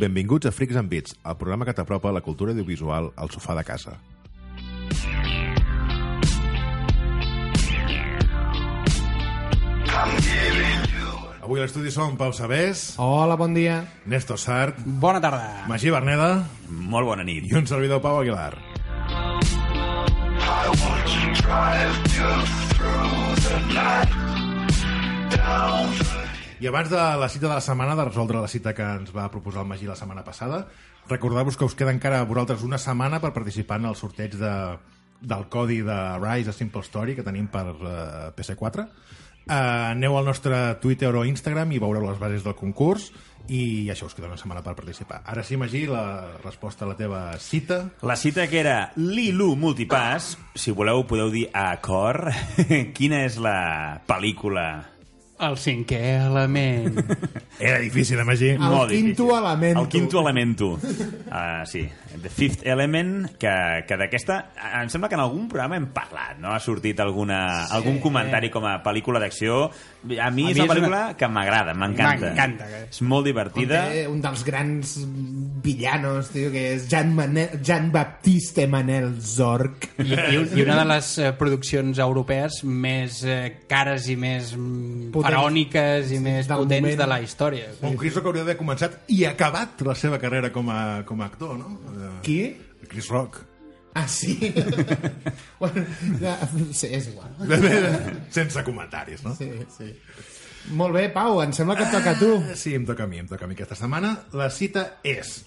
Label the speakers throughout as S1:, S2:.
S1: Benvinguts a Freaks and Beats, el programa que t'apropa la cultura audiovisual al sofà de casa. Avui a l'estudi som Pau Sabés,
S2: Hola, bon dia.
S1: Néstor Sart,
S2: Bona tarda.
S1: Magí Berneda
S3: Molt bona nit.
S1: i un servidor Pau Aguilar. I abans de la cita de la setmana, de resoldre la cita que ens va proposar el Magí la setmana passada, recordar-vos que us queda encara a vosaltres una setmana per participar en el sorteig de, del codi de Rise a Simple Story que tenim per uh, PC4. Uh, aneu al nostre Twitter o Instagram i veureu les bases del concurs i això us queda una setmana per participar. Ara sí, Magí, la resposta a la teva cita.
S3: La cita que era Lilu Multipass, si voleu podeu dir a cor, quina és la pel·lícula?
S4: El cinquè element.
S1: Era difícil, eh, Magí?
S2: El
S3: Molt difícil.
S2: quinto elemento.
S3: El quinto elemento. Uh, sí, The Fifth Element, que, que d'aquesta... Em sembla que en algun programa hem parlat, no? Ha sortit alguna, sí. algun comentari com a pel·lícula d'acció. A mi és una pel·lícula que m'agrada, m'encanta.
S4: M'encanta, que-
S3: És molt divertida.
S2: Té Eh, un dels grans villanos, tio, que és Jean, Manel, Jean Baptiste Manel Zorc.
S4: I, i, un- I una de les eh, produccions europees més eh, cares i més mm,
S2: Potents.
S4: faraòniques i més
S2: del
S4: potents
S2: moment.
S4: de la història.
S1: Un Chris Rock hauria d'haver començat i acabat la seva carrera com a, com a actor, no? Eh,
S2: Qui?
S1: Chris Rock.
S2: Ah, sí? bueno, ja, sí, és igual.
S1: Sense comentaris, no?
S2: Sí, sí. Molt bé, Pau, em sembla que et toca a tu.
S1: Sí, em toca a mi, em toca a mi aquesta setmana. La cita és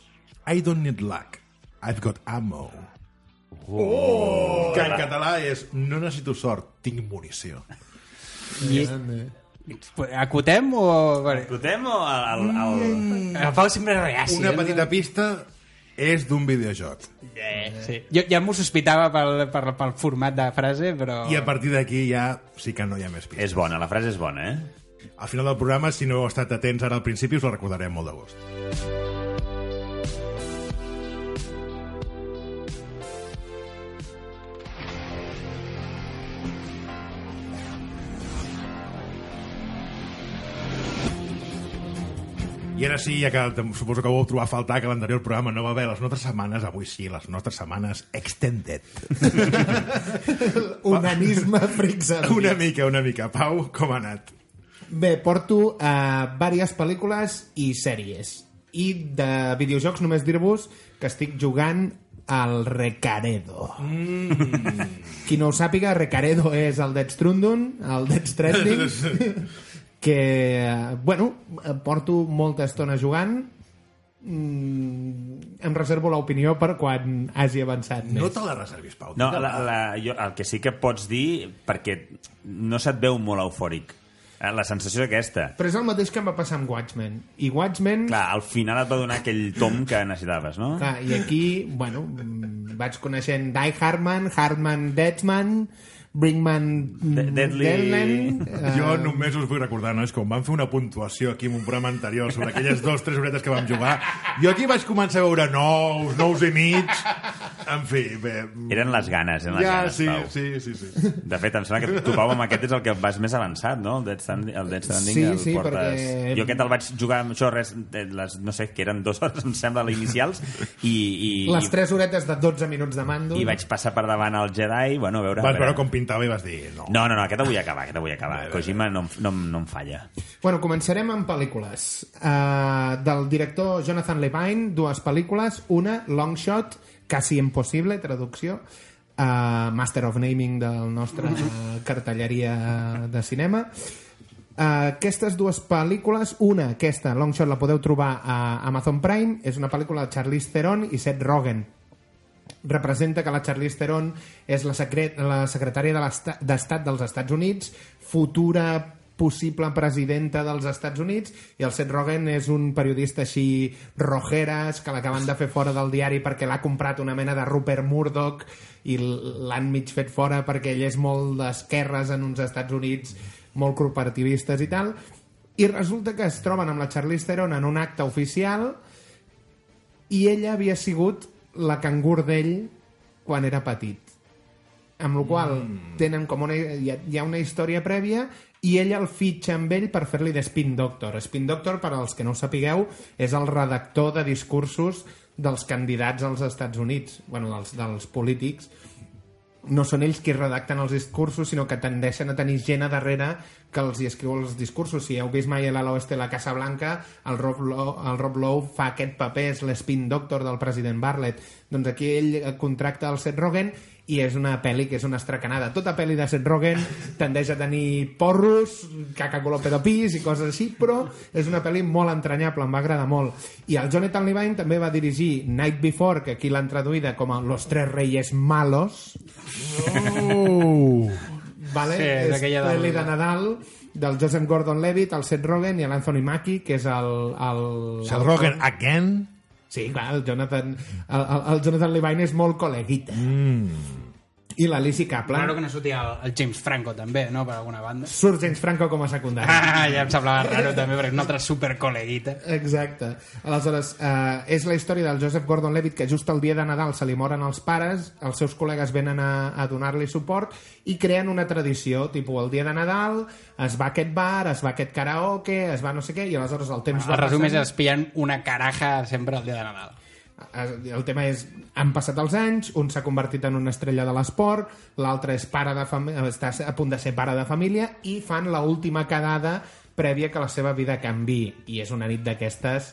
S1: I don't need luck, I've got ammo. Oh! Que en català és No necessito sort, tinc munició.
S4: I, acotem o... Bueno,
S3: Escoltem o el... el, el...
S4: el Pau sempre reaci.
S1: Una
S4: eh?
S1: petita pista és d'un videojoc.
S4: Eh, sí. Jo ja m'ho sospitava pel, pel, pel format de frase, però...
S1: I a partir d'aquí ja sí que no hi ha més pistes.
S3: És bona, la frase és bona, eh?
S1: Al final del programa, si no heu estat atents ara al principi, us la recordarem molt de gust. I ara sí, ja que te- suposo que ho vau trobar a faltar, que a l'anterior programa no va haver les nostres setmanes, avui sí, les nostres setmanes extended.
S2: Unanisme fricsant.
S1: Una mica, una mica. Pau, com ha anat?
S2: Bé, porto a uh, diverses pel·lícules i sèries. I de videojocs només dir-vos que estic jugant al Recaredo. Mm. Qui no ho sàpiga, Recaredo és el Dead Stranding, el Dead Stranding, que, eh, bueno, eh, porto molta estona jugant, mm, em reservo l'opinió per quan hagi avançat
S1: No
S2: més.
S1: te la reservis, Pau.
S3: No,
S1: Te
S3: la, la, jo, el que sí que pots dir, perquè no se't veu molt eufòric. Eh, La sensació és aquesta.
S2: Però és el mateix que em va passar amb Watchmen. I Watchmen...
S3: Clar, al final et va donar aquell tom que necessitaves, no?
S2: Clar, i aquí, bueno, mm, vaig coneixent Die Hartman, Hartman Deadman, Brinkman
S3: De- Deadly.
S2: Deadman,
S1: Jo només us vull recordar, nois, com vam fer una puntuació aquí en un programa anterior sobre aquelles dues, tres horetes que vam jugar, jo aquí vaig començar a veure nous, nous i mig... En fi, bé...
S3: Eren les ganes, eren les
S1: ja,
S3: ganes,
S1: sí,
S3: Pau.
S1: sí, sí, sí.
S3: De fet, em sembla que tu, Pau, amb aquest és el que vas més avançat, no? El Dead Standing, el Dead Standing
S2: Sí,
S3: el
S2: sí,
S3: portes...
S2: perquè-
S3: Jo aquest el vaig jugar amb això, res, de les, no sé, que eren dues hores, em sembla, les inicials, i, i,
S2: les tres horetes de 12 minuts de mando.
S3: i, i vaig passar per davant al Jedi, bueno, a veure... a
S1: Vas
S3: veure
S1: veure com pintava i vas dir... No.
S3: No, no, no, aquest el vull acabar, aquest el vull acabar.
S1: Bé, bé, bé.
S3: Kojima no, em- no, em- no em falla.
S2: Bueno, començarem amb pel·lícules. Uh, del director Jonathan Levine, dues pel·lícules. Una, Long Shot, quasi impossible, traducció. Uh, Master of Naming del nostre eh, cartelleria de cinema. Uh, aquestes dues pel·lícules, una, aquesta, Long Shot, la podeu trobar a Amazon Prime, és una pel·lícula de Charlize Theron i Seth Rogen, representa que la Charlize Theron és la, secret, la secretària de l'esta- d'Estat dels Estats Units, futura possible presidenta dels Estats Units i el Seth Rogen és un periodista així rojeres que l'acaben de fer fora del diari perquè l'ha comprat una mena de Rupert Murdoch i l- l'han mig fet fora perquè ell és molt d'esquerres en uns Estats Units molt cooperativistes i tal i resulta que es troben amb la Charlize Theron en un acte oficial i ella havia sigut la cangur d'ell quan era petit. amb la qual tenen com una, hi, ha, hi ha una història prèvia i ella el fitxa amb ell per fer-li de Spin Doctor. Spin Doctor, per als que no ho sapigueu, és el redactor de discursos dels candidats als Estats Units, bueno, dels, dels polítics, no són ells qui redacten els discursos, sinó que tendeixen a tenir gent a darrere que els hi escriu els discursos. Si heu vist mai a l'Oeste la Casa Blanca, el Rob, Lowe, el Rob Lowe fa aquest paper, és l'espin doctor del president Bartlett. Doncs aquí ell contracta el Seth Rogen i és una pel·li que és una estracanada. Tota pel·li de Seth Rogen tendeix a tenir porros, caca color pedopís i coses així, però és una pel·li molt entranyable, em va agradar molt. I el Jonathan Levine també va dirigir Night Before, que aquí l'han traduïda com a Los Tres Reyes Malos,
S1: Uh,
S2: Vale?
S4: Sí, és
S2: és
S4: aquella del-
S2: pel·li de Nadal del Joseph Gordon-Levitt, el Seth Rogen i l'Anthony Mackie, que és el... el,
S1: Seth Rogen, again?
S2: Sí, clar, el Jonathan, el, el, el Jonathan Levine és molt col·leguita. Mm. I l'Alicia Kaplan.
S4: Claro que no sortia el, el James Franco també, no? Per alguna banda.
S2: Surt James Franco com a secundari.
S4: Ah, ja em semblava raro també, perquè és una altra supercol·leguita.
S2: Exacte. Aleshores, eh, és la història del Joseph Gordon-Levitt que just el dia de Nadal se li moren els pares, els seus col·legues venen a, a donar-li suport i creen una tradició, tipus el dia de Nadal es va a aquest bar, es va a aquest karaoke, es va no sé què, i aleshores el temps
S4: El
S2: va
S4: resum és
S2: passant.
S4: es pillen una caraja sempre el dia de Nadal.
S2: Eh, El tema és, han passat els anys, un s'ha convertit en una estrella de l'esport, l'altre és pare de fami- eh, està a punt de ser pare de família i fan la última quedada prèvia que la seva vida canvi i és una nit d'aquestes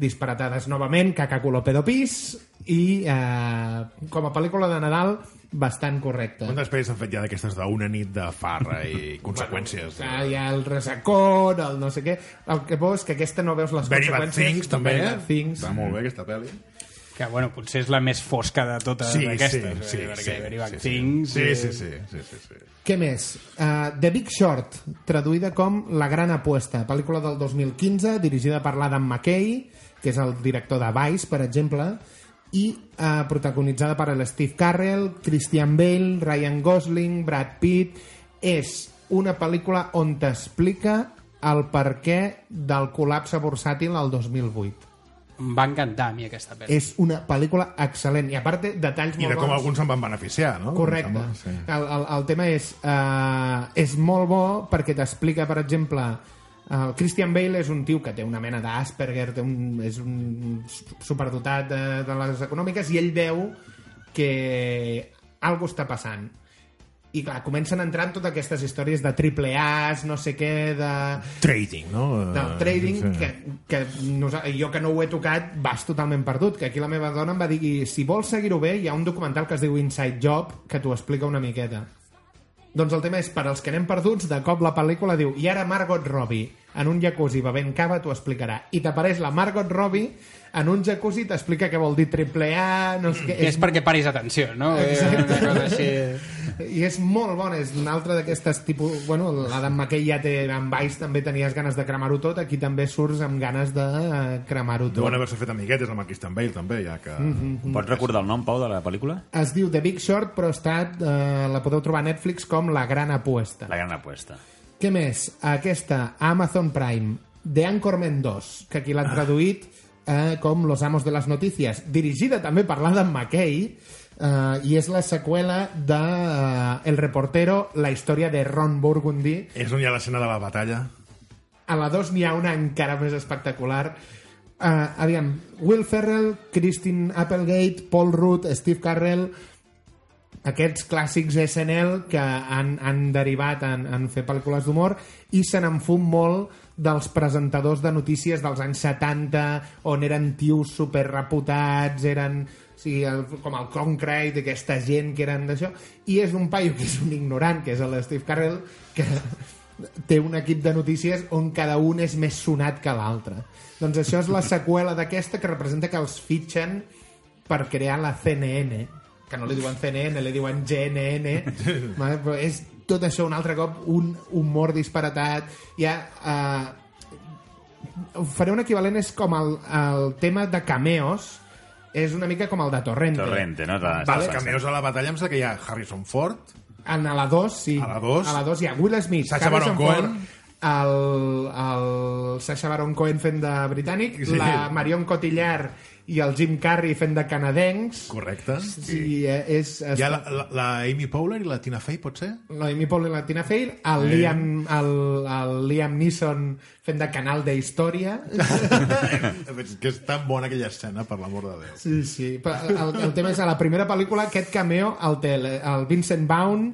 S2: disparatades novament, caca color pedopís i eh, com a pel·lícula de Nadal bastant correcta.
S1: Quantes pel·lis s'han fet ja d'aquestes d'una nit de farra i conseqüències?
S2: Clar, Ah, hi ha el resacón, el no sé què... El que veus és que aquesta no veus les
S1: Very Bad
S2: conseqüències.
S1: Things, també.
S2: Very Bad Things.
S1: Està molt bé, aquesta pel·li.
S4: Que, bueno, potser és la més fosca de totes
S1: Sí, sí,
S4: aquestes. eh,
S1: sí.
S4: perquè
S1: sí,
S4: Very Bad
S1: sí,
S4: Things...
S1: Sí,
S4: eh,
S1: sí, sí. sí, sí, sí.
S2: Què més? Uh, The Big Short, traduïda com La Gran Apuesta, pel·lícula del 2015, dirigida per l'Adam McKay, que és el director de Vice, per exemple, i uh, protagonitzada per el Steve Carrell, Christian Bale, Ryan Gosling, Brad Pitt... És una pel·lícula on t'explica el perquè del col·lapse versàtil al 2008.
S4: Em va encantar a mi aquesta
S1: Eh,
S4: pel·li.
S2: És una pel·lícula excel·lent, i a part té detalls
S1: I
S2: molt
S1: de com
S2: bons.
S1: alguns se'n van beneficiar, no?
S2: Correcte.
S1: Em sembla, sí.
S2: El, el, el tema és... eh, és molt bo perquè t'explica, per exemple, el Christian Bale és un tio que té una mena d'Asperger, té un, és un superdotat de, de les econòmiques i ell veu que algo està passant i clar, comencen a entrar en totes aquestes històries de triple A's, no sé què, de,
S1: Trading, no? Eh,
S2: del trading que, que nosa- jo que no ho he tocat vas totalment perdut, que aquí la meva dona em va dir si vols seguir-ho bé hi ha un documental que es diu Inside Job que t'ho explica una miqueta doncs el tema és, per als que anem perduts, de cop la pel·lícula diu i ara Margot Robbie en un jacuzzi bevent cava t'ho explicarà i t'apareix la Margot Robbie en un jacuzzi t'explica què vol dir triple A no sé què,
S4: És perquè paris atenció, no? Exacte. Una cosa així...
S1: Ah,
S2: i és molt bona, és una altra d'aquestes tipus... Bueno, l'Adam McKay ja té... Amb Vice també tenies ganes de cremar-ho tot, aquí també surts amb ganes de eh, cremar-ho tot.
S1: Deuen haver-se fet amiguetes amb el Christian Bale, també, ja que...
S2: Mhm.
S3: Pots recordar el nom, Pau, de la pel·lícula?
S2: Es diu The Big Short, però està, eh, la podeu trobar a Netflix com La Gran Apuesta.
S3: La gran apuesta.
S2: Què més? Aquesta, Amazon Prime, The Anchorman 2, que aquí l'han traduït eh, com Los Amos de las Noticias, dirigida també per l'Adam McKay, eh, i és la seqüela de eh, El reportero, la història de Ron Burgundy,
S1: És on hi ha l'escena de la batalla.
S2: A la 2 n'hi ha una encara més espectacular. Uh, aviam, Will Ferrell, Christine Applegate, Paul Rudd, Steve Carrell, aquests clàssics SNL que han, han derivat en, en fer pel·lícules d'humor i se n'enfum molt dels presentadors de notícies dels anys 70 on eren tios superreputats eren o sigui, el, com el Concrete aquesta gent que eren d'això i és un paio que és un ignorant que és el Steve Carrell que té un equip de notícies on cada un és més sonat que l'altre doncs això és la seqüela d'aquesta que representa que els fitxen per crear la CNN que no li diuen CNN, li diuen GNN vale? però és tot això un altre cop un humor disparatat ja eh, faré un equivalent és com el, el tema de cameos és una mica com el de Torrente,
S3: Torrente, no? La,
S1: Vale, cameos a la batalla, em sembla que hi ha Harrison Ford,
S2: En a la 2, sí.
S1: A la dos.
S2: A la 2 hi ha Will Smith,
S1: Sacha Baron Cohen.
S2: el, el Sacha Baron Cohen fent de britànic,
S1: Sí.
S2: la Marion Cotillard i el Jim Carrey fent de canadencs.
S1: Correcte.
S2: Sí, eh, és...
S1: Hi ha la, la, la Amy Powler i la Tina Fey, pot ser?
S2: L'Amy Paul i la Tina Fey, el,
S1: Eh.
S2: Liam, el, el Liam Neeson fent de canal de història.
S1: És que és tan bona aquella escena, per l'amor de Déu.
S2: Sí, sí. Però eh, El, el tema és, a la primera pel·lícula, aquest cameo el té el- el Vincent Vaughn,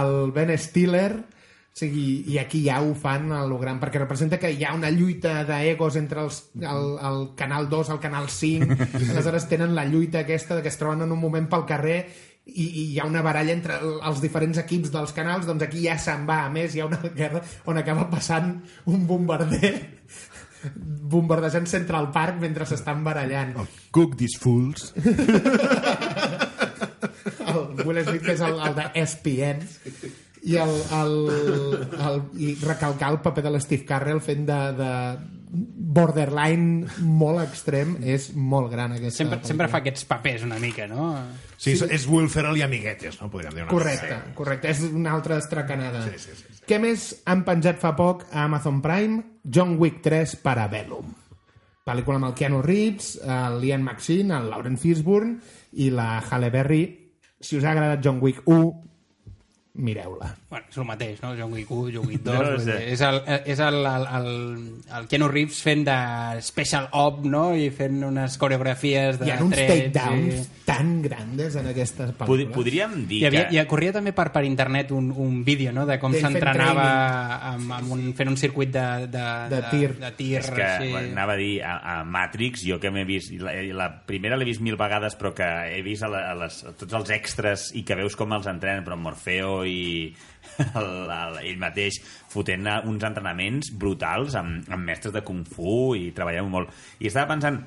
S2: el Ben Stiller, o sigui, i aquí ja ho fan a lo gran, perquè representa que hi ha una lluita d'egos entre els, el, el Canal 2 al Canal 5, i aleshores tenen la lluita aquesta de que es troben en un moment pel carrer i, i hi ha una baralla entre el- els diferents equips dels canals, doncs aquí ja se'n va a més, hi ha una guerra on acaba passant un bombarder bombardejant Central Park mentre s'estan barallant
S1: El Cook These Fools.
S2: el Will Smith que és el, el de ESPN i, el, el, el, i recalcar el paper de l'Steve Carrell fent de, de borderline molt extrem és molt gran aquesta
S4: Sempre,
S2: pel·lícula.
S4: sempre fa aquests papers una mica, no?
S1: Sí, sí, és Will Ferrell i amiguetes, no? Podríem dir una
S2: Correcte, correcte. És una altra estracanada.
S1: Sí, sí, sí, sí.
S2: Què més han penjat fa poc a Amazon Prime? John Wick 3 para Vellum. Pel·lícula amb el Keanu Reeves, el Ian McSheen, el Lauren Fishburne i la Halle Berry. Si us ha agradat John Wick 1, mireu-la.
S4: Bueno, és el mateix, no? John Wick 1, John Wick 2...
S3: No, no
S4: vull
S3: sé.
S4: dir, és el, eh, és el, el, el, el Keanu Reeves fent de special op, no? I fent unes coreografies de
S2: Hi ha uns
S4: trets
S2: takedowns
S4: I...
S2: tan grandes en aquestes
S3: Pod
S2: pel·lícules.
S3: podríem dir
S4: Hi, havia,
S3: que...
S4: hi corria també per, per internet un, un vídeo no? de com
S2: D'ell fent
S4: s'entrenava amb, amb un, fent un circuit de, de,
S2: De tir.
S4: de tir
S3: És que,
S4: sí.
S3: bueno, anava a dir, a, a Matrix, jo que m'he vist... La, la primera l'he vist mil vegades, però que he vist a, la, a, les, a tots els extras i que veus com els entrenen, però en Morfeo i el, el, ell mateix fotent uns entrenaments brutals amb, amb mestres de Kung Fu i treballant molt. I estava pensant,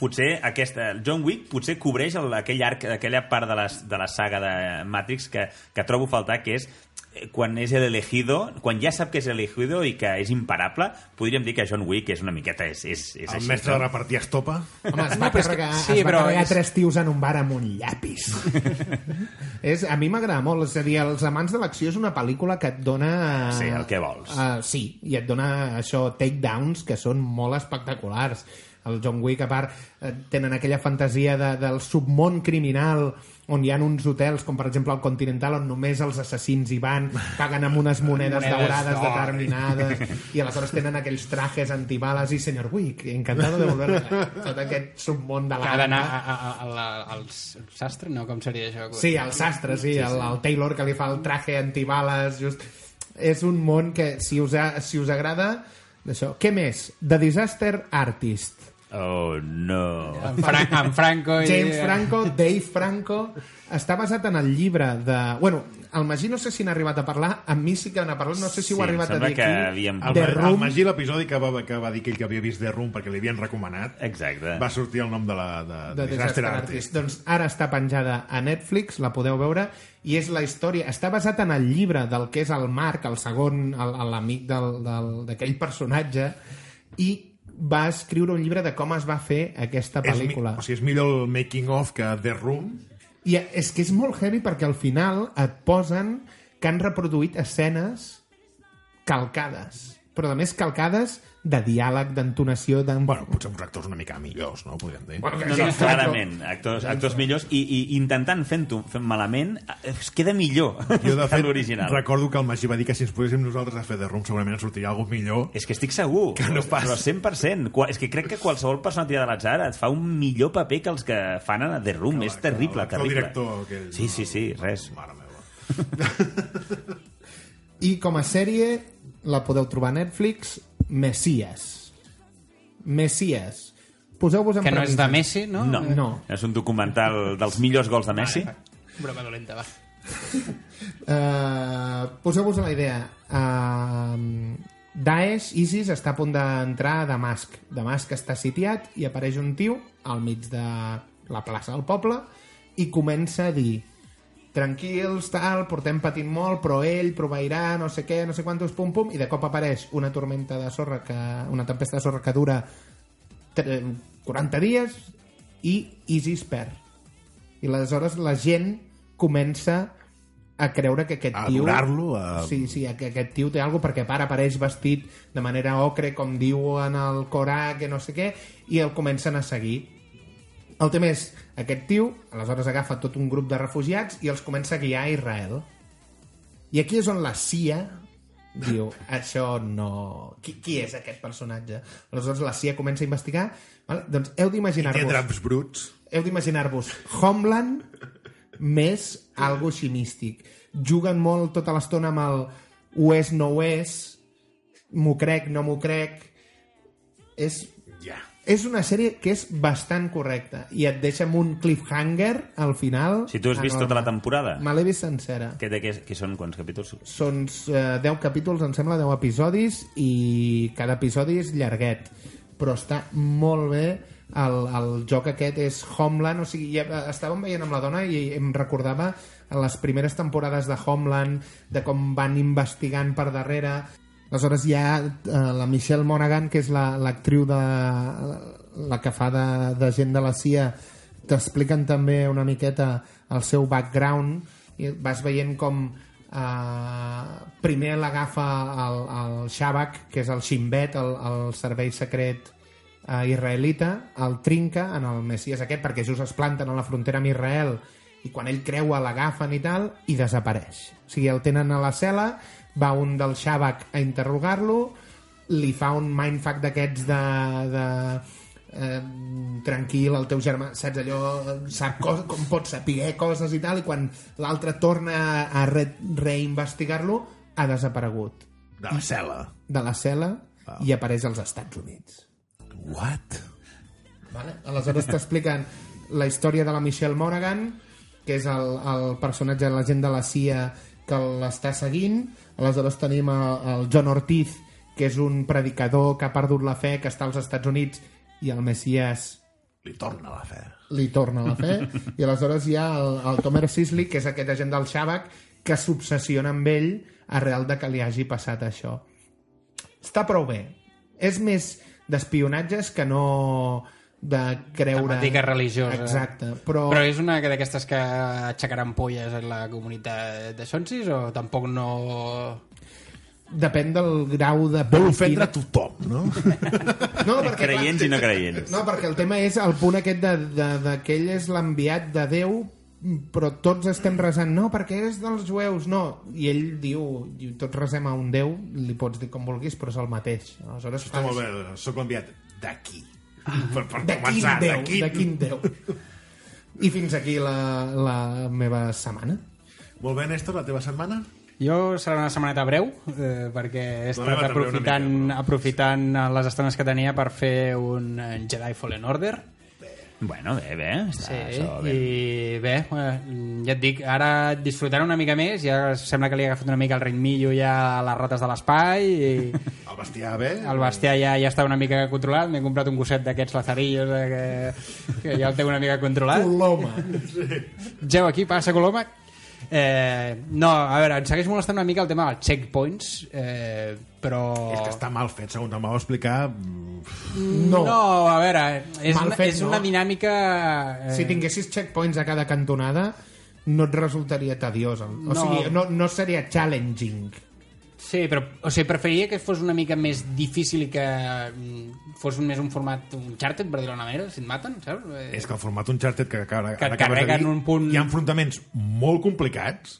S3: potser aquesta, John Wick potser cobreix el, aquell arc, aquella part de, les, de la saga de Matrix que, que trobo a faltar, que és eh, quan és el elegido, quan ja sap que és elegido i que és imparable, podríem dir que John Wick és una miqueta... És, és, és
S1: El
S3: així,
S1: mestre de
S3: no?
S1: repartir estopa.
S2: Home, es va no,
S4: No, però és que-
S2: carregar,
S4: sí,
S2: sí, es va
S4: però
S2: carregar
S4: és-
S2: és... tres tios en un bar amb un llapis. és, a mi m'agrada molt. És a dir, Els amants de l'acció és una pel·lícula que et dona...
S3: Sí, el que vols.
S2: Uh, sí, i et dona això, takedowns, que són molt espectaculars. El John Wick, a part, eh, tenen aquella fantasia de, del submón criminal on hi ha uns hotels, com per exemple el Continental, on només els assassins hi van, paguen amb unes monedes,
S4: Monedes
S2: daurades
S4: d'or.
S2: determinades, i aleshores tenen aquells trajes antibales i senyor Wick, encantado de volver a... Tot aquest submón de
S4: que ha d'anar
S2: l'ànima.
S4: a- a- a- a la- al s- sastre, no? Com seria això?
S2: Sí, el sastre, sí, el, el Taylor que li fa el traje antibales, just... És un món que, si us, ha, si us agrada, això. Què més? The Disaster Artist.
S3: Oh, no.
S4: En, Fran en Franco i...
S2: James Franco, Dave Franco... Està basat en el llibre de... Bueno, el Magí no sé si n'ha arribat a parlar, amb mi sí que n'ha parlat, no sé si
S3: Sí,
S2: ho ha arribat a
S3: sembla
S2: dir
S3: que
S2: aquí.
S3: havíem-
S2: The
S1: Ma-
S2: Room.
S1: Magí, l'episodi que, va, que va dir que ell que havia vist The Room perquè li havien recomanat,
S3: Exacte.
S1: va sortir el nom de la de, de Disaster Artist.
S2: Doncs ara està penjada a Netflix, la podeu veure, i és la història... Està basat en el llibre del que és el Marc, el segon, el- l'amic del- del- d'aquell personatge, i va escriure un llibre de com es va fer aquesta
S1: És mi,
S2: pel·lícula.
S1: o sigui, és millor el making of que The Room.
S2: I és que és molt heavy perquè al final et posen que han reproduït escenes calcades, però a més calcades de diàleg, d'entonació, d'en...
S1: Bueno, potser uns actors una mica millors, no? Podríem dir. Bueno,
S3: No, no, clarament, actors, actors millors i, i intentant fent-ho fent malament eh, es queda millor
S1: jo, de fet,
S3: l'original.
S1: recordo que el Magí va dir que si ens poséssim nosaltres a fer The Room segurament ens sortiria alguna millor.
S3: És que estic segur. Que no pas. Però 100%. Qua- És que crec que qualsevol persona tirada a l'atzar et fa un millor paper que els que fan a The Room. és terrible,
S1: El
S3: terrible.
S1: director aquell.
S3: Sí, sí, sí, res.
S1: Mare meva.
S2: I com a sèrie la podeu trobar a Netflix, Messias. Messias. Poseu-vos en
S4: Que no és de
S2: premisses.
S4: Messi, no?
S3: No.
S2: No.
S3: És un documental dels millors gols de Messi.
S4: Broma dolenta, va.
S2: Eh, Poseu-vos a la idea. Uh, Daesh, ISIS, està a punt d'entrar a Damasc. Damasc està sitiat i apareix un tio al mig de la plaça del poble i comença a dir tranquils, tal, portem patint molt, però ell proveirà no sé què, no sé quantos, pum, pum, i de cop apareix una tormenta de sorra, que, una tempesta de sorra que dura tre- 40 dies i ISIS perd. I aleshores la gent comença a creure que aquest
S1: A
S2: tio...
S1: adorar-lo, a-
S2: Sí, sí, a que aquest tio té alguna perquè para apareix vestit de manera ocre, com diu en el Corà, que no sé què, i el comencen a seguir. El tema és, aquest tio aleshores agafa tot un grup de refugiats i els comença a guiar a Israel. I aquí és on la CIA diu, això no... Qui, qui és aquest personatge? Aleshores la CIA comença a investigar. Val? Doncs heu
S1: Té
S2: d'imaginar-vos...
S1: draps bruts.
S2: Heu d'imaginar-vos Homeland més algo així místic. Juguen molt tota l'estona amb el ho és, no ho és, m'ho crec, no m'ho crec... És
S1: Ja.
S2: és una sèrie que és bastant correcta i et deixa amb un cliffhanger al final.
S3: Si tu has vist
S2: enorme.
S3: tota la temporada.
S2: Me l'he vist sencera.
S3: Que, de, que, que són quants capítols?
S2: Són eh, 10 capítols, em sembla, 10 episodis i cada episodi és llarguet. Però està molt bé el, el joc aquest és Homeland, o sigui, ja eh, estàvem veient amb la dona i em recordava les primeres temporades de Homeland, de com van investigant per darrere. Aleshores hi ha eh, la Michelle Monaghan, que és la- l'actriu la, de la que fa de, de gent de la CIA, t'expliquen també una miqueta el seu background i vas veient com eh, primer l'agafa el, el Shabak, que és el Shimbet, el, el servei secret eh, israelita, el trinca en el Messies aquest perquè just es planten a la frontera amb Israel i quan ell creua l'agafen i tal i desapareix. O sigui, el tenen a la cel·la, va un del Shabak a interrogar-lo, li fa un mindfuck d'aquests de... de eh, tranquil, el teu germà saps allò, sap coses, com pots saber coses i tal, i quan l'altre torna a re reinvestigar-lo ha desaparegut
S1: De la cel·la.
S2: de la cel·la i apareix als Estats Units
S1: What?
S2: Vale? Aleshores t'expliquen la història de la Michelle Monaghan, que és el, el personatge de la gent de la CIA que l'està seguint. Aleshores tenim el, el John Ortiz, que és un predicador que ha perdut la fe, que està als Estats Units, i el Messias
S1: Li torna la fe.
S2: li torna la fe i aleshores hi ha el, el Tomer Sisley que és aquest agent del Shabak que s'obsessiona amb ell arrel de que li hagi passat això està prou bé és més d'espionatges que no de creure
S4: Temàtica religiosa.
S2: exacte, però,
S4: Però és una d'aquestes que aixecaran polles en la comunitat de Sonsis o tampoc no...
S2: depèn del grau de
S1: Vol ofendre a tothom, no?
S2: no, perquè, clar,
S3: Creients i no creients.
S2: No, perquè el tema és el punt aquest de, de, de que ell és l'enviat de Déu però tots estem resant no, perquè és dels jueus, no i ell diu, diu, tots resem a un Déu li pots dir com vulguis, però és el mateix aleshores
S1: Està molt bé, sóc l'enviat d'aquí. Per, per
S2: de quin
S1: començar,
S2: Déu,
S1: Ah, d'aquí.
S2: de quin Déu i fins aquí la, la meva setmana
S4: Eh?
S1: Molt bé, Néstor, la teva setmana?
S4: Jo serà una setmaneta breu, eh, perquè he estat
S1: Donava també una
S4: aprofitant,
S1: mica, però-
S4: aprofitant les estones que tenia per fer un eh, Jedi Fallen Order.
S3: Bueno, bé, bé. Està,
S4: Sí,
S3: Ah, això, bé.
S4: i bé, eh, ja et dic, ara disfrutaré una mica més, ja sembla que li ha agafat una mica el ritmillo ja a les rates de l'espai i...
S1: El bestiar bé?
S4: El bestiar ja, ja està una mica controlat. M'he comprat un gosset d'aquests lazarillos eh, que, que ja el té una mica controlat.
S2: Coloma
S4: Geu aquí, passa Coloma. Eh, no, a veure, em segueix molestant una mica el tema dels checkpoints, eh, però...
S1: És que està mal fet, segons em vau explicar... mm,
S2: no,
S4: No, a veure, és,
S2: Mal
S4: una,
S2: fet,
S4: és una
S2: no.
S4: dinàmica... Eh,
S2: si tinguessis checkpoints a cada cantonada no et resultaria tediós el- o
S4: No.
S2: sigui, no, no seria challenging
S4: Sí, però o sigui, preferiria que fos una mica més difícil i que mm, fos un, més un format un charter, per dir-ho d'una manera, si et maten, saps? Eh,
S1: És que el format Uncharted que, que, ara,
S4: Que et
S1: ara acabes de
S4: carreguen
S1: dir,
S4: un punt-
S1: Hi ha enfrontaments molt complicats,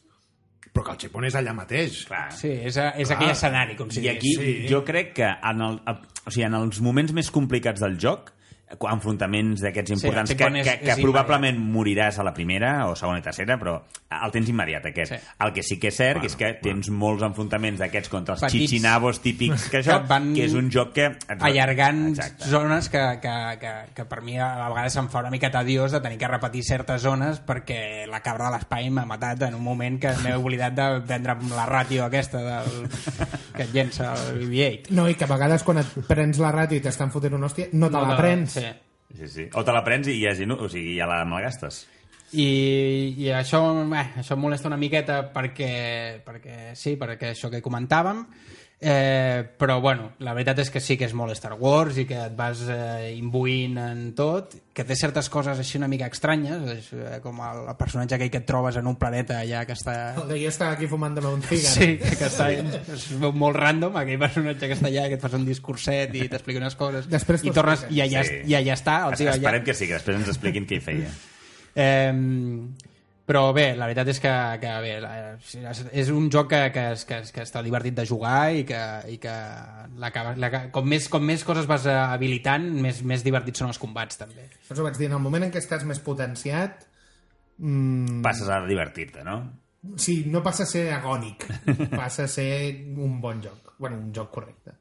S1: però que el xipon és allà mateix.
S3: Clar.
S4: Sí, és, a- és
S1: Ah,
S4: aquell escenari, com si
S3: I aquí
S1: sí.
S3: jo crec que en, el, o sigui, en els moments més complicats del joc quan- enfrontaments d'aquests importants
S4: el
S3: que,
S4: checkpoint és-
S3: que, que
S4: és
S3: probablement moriràs a la primera o segona i tercera, però el tens immediat aquest.
S4: Sí.
S3: El que sí que és cert bueno, és que tens molts enfrontaments d'aquests contra els
S4: Petits.
S3: chichinabos típics que això,
S4: Que
S3: que,
S4: van
S3: que és un joc que...
S4: allargant
S3: Exacte.
S4: zones que, que, que, que per mi a vegades se'm fa una mica tediós de tenir que repetir certes zones perquè la cabra de l'espai m'ha matat en un moment que m'he oblidat de prendre la ràtio aquesta del, que et llença el BB-8
S2: No, i que a vegades quan et prens la ràdio i t'estan fotent una hòstia, no te la prens.
S4: sí.
S3: Sí, sí. O te la prens i ja, és inu- o sigui, ja la malgastes.
S4: I, i això, eh, això em molesta una miqueta perquè, perquè sí, perquè això que comentàvem Eh, però, bueno, la veritat és que sí que és molt Star Wars i que et vas eh, imbuint en tot, que té certes coses així una mica estranyes, és, eh, com el, el personatge aquell que et trobes en un planeta allà que està...
S2: El de jo estava aquí fumant-me un cigar.
S4: Sí, que, que està, és molt random, aquell personatge que està allà, que et fas un discurset i t'explica unes coses,
S2: Després
S4: i tornes, i allà,
S3: Sí.
S4: i allà està, el Oh, tio allà...
S3: Esperem que sí, que després ens expliquin què hi feia.
S4: Eh, però bé, la veritat és que, que bé, la- és un joc que, que, que, que està divertit de jugar i que, i que l'acabes- l'aca- com, més, com més coses vas eh, habilitant, més, més divertits són els combats també.
S2: Això us ho vaig dir, en el moment en què estàs més potenciat, mm,
S3: Passes a divertir-te, no?
S2: sí, no passa a ser agònic, passa a ser un bon joc. Bueno, un joc correcte.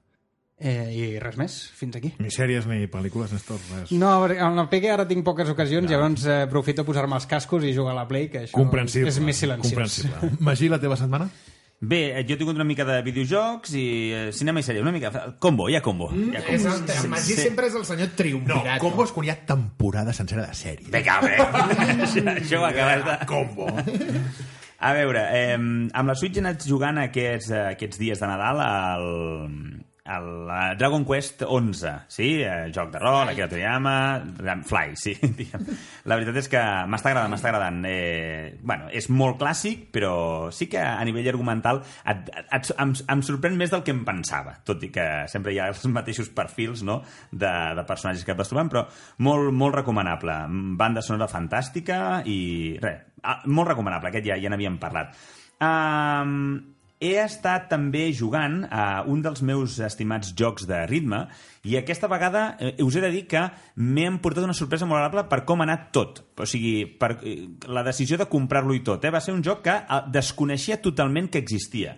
S4: Eh, I res més, fins aquí.
S1: Ni sèries ni pel·lícules, ni tot res.
S4: No, perquè amb el PG ara tinc poques ocasions, no. llavors eh, aprofito posar-me els cascos i jugar a la Play, que això
S1: Comprensible.
S4: és més silenciós.
S1: Comprensible. Magí, la teva setmana?
S3: Bé, eh, jo he tingut una mica de videojocs i eh, cinema i sèrie, una mica... Combo, hi ha combo. Hi
S2: Mm,
S3: ha
S2: És
S3: combo.
S2: el, el Magí sempre és el senyor triomvirat.
S1: combo és quan hi ha temporada sencera de sèrie.
S3: Vinga, home. això, això ho acabes
S1: Ah,
S3: de... Combo. A veure, eh, amb la Switch he anat jugant aquests, eh, aquests dies de Nadal al, al eh, Dragon Quest 11, sí? Eh, joc de rol, Akira Toriyama, Ram- Fly, sí. diguem. La veritat és que m'està agradant, m'està agradant. Eh, bueno, és molt clàssic, però sí que a nivell argumental et, et, et, em, em sorprèn més del que em pensava, tot i que sempre hi ha els mateixos perfils no? de, de personatges que et vas trobant, però molt, molt recomanable. Banda sonora fantàstica i res, ah, molt recomanable, aquest ja, ja n'havíem parlat. Um, he estat també jugant a un dels meus estimats jocs de ritme i aquesta vegada eh, us he de dir que m'he emportat una sorpresa molt agradable per com ha anat tot. O sigui, per eh, la decisió de comprar-lo i tot. Eh? Va ser un joc que eh, desconeixia totalment que existia.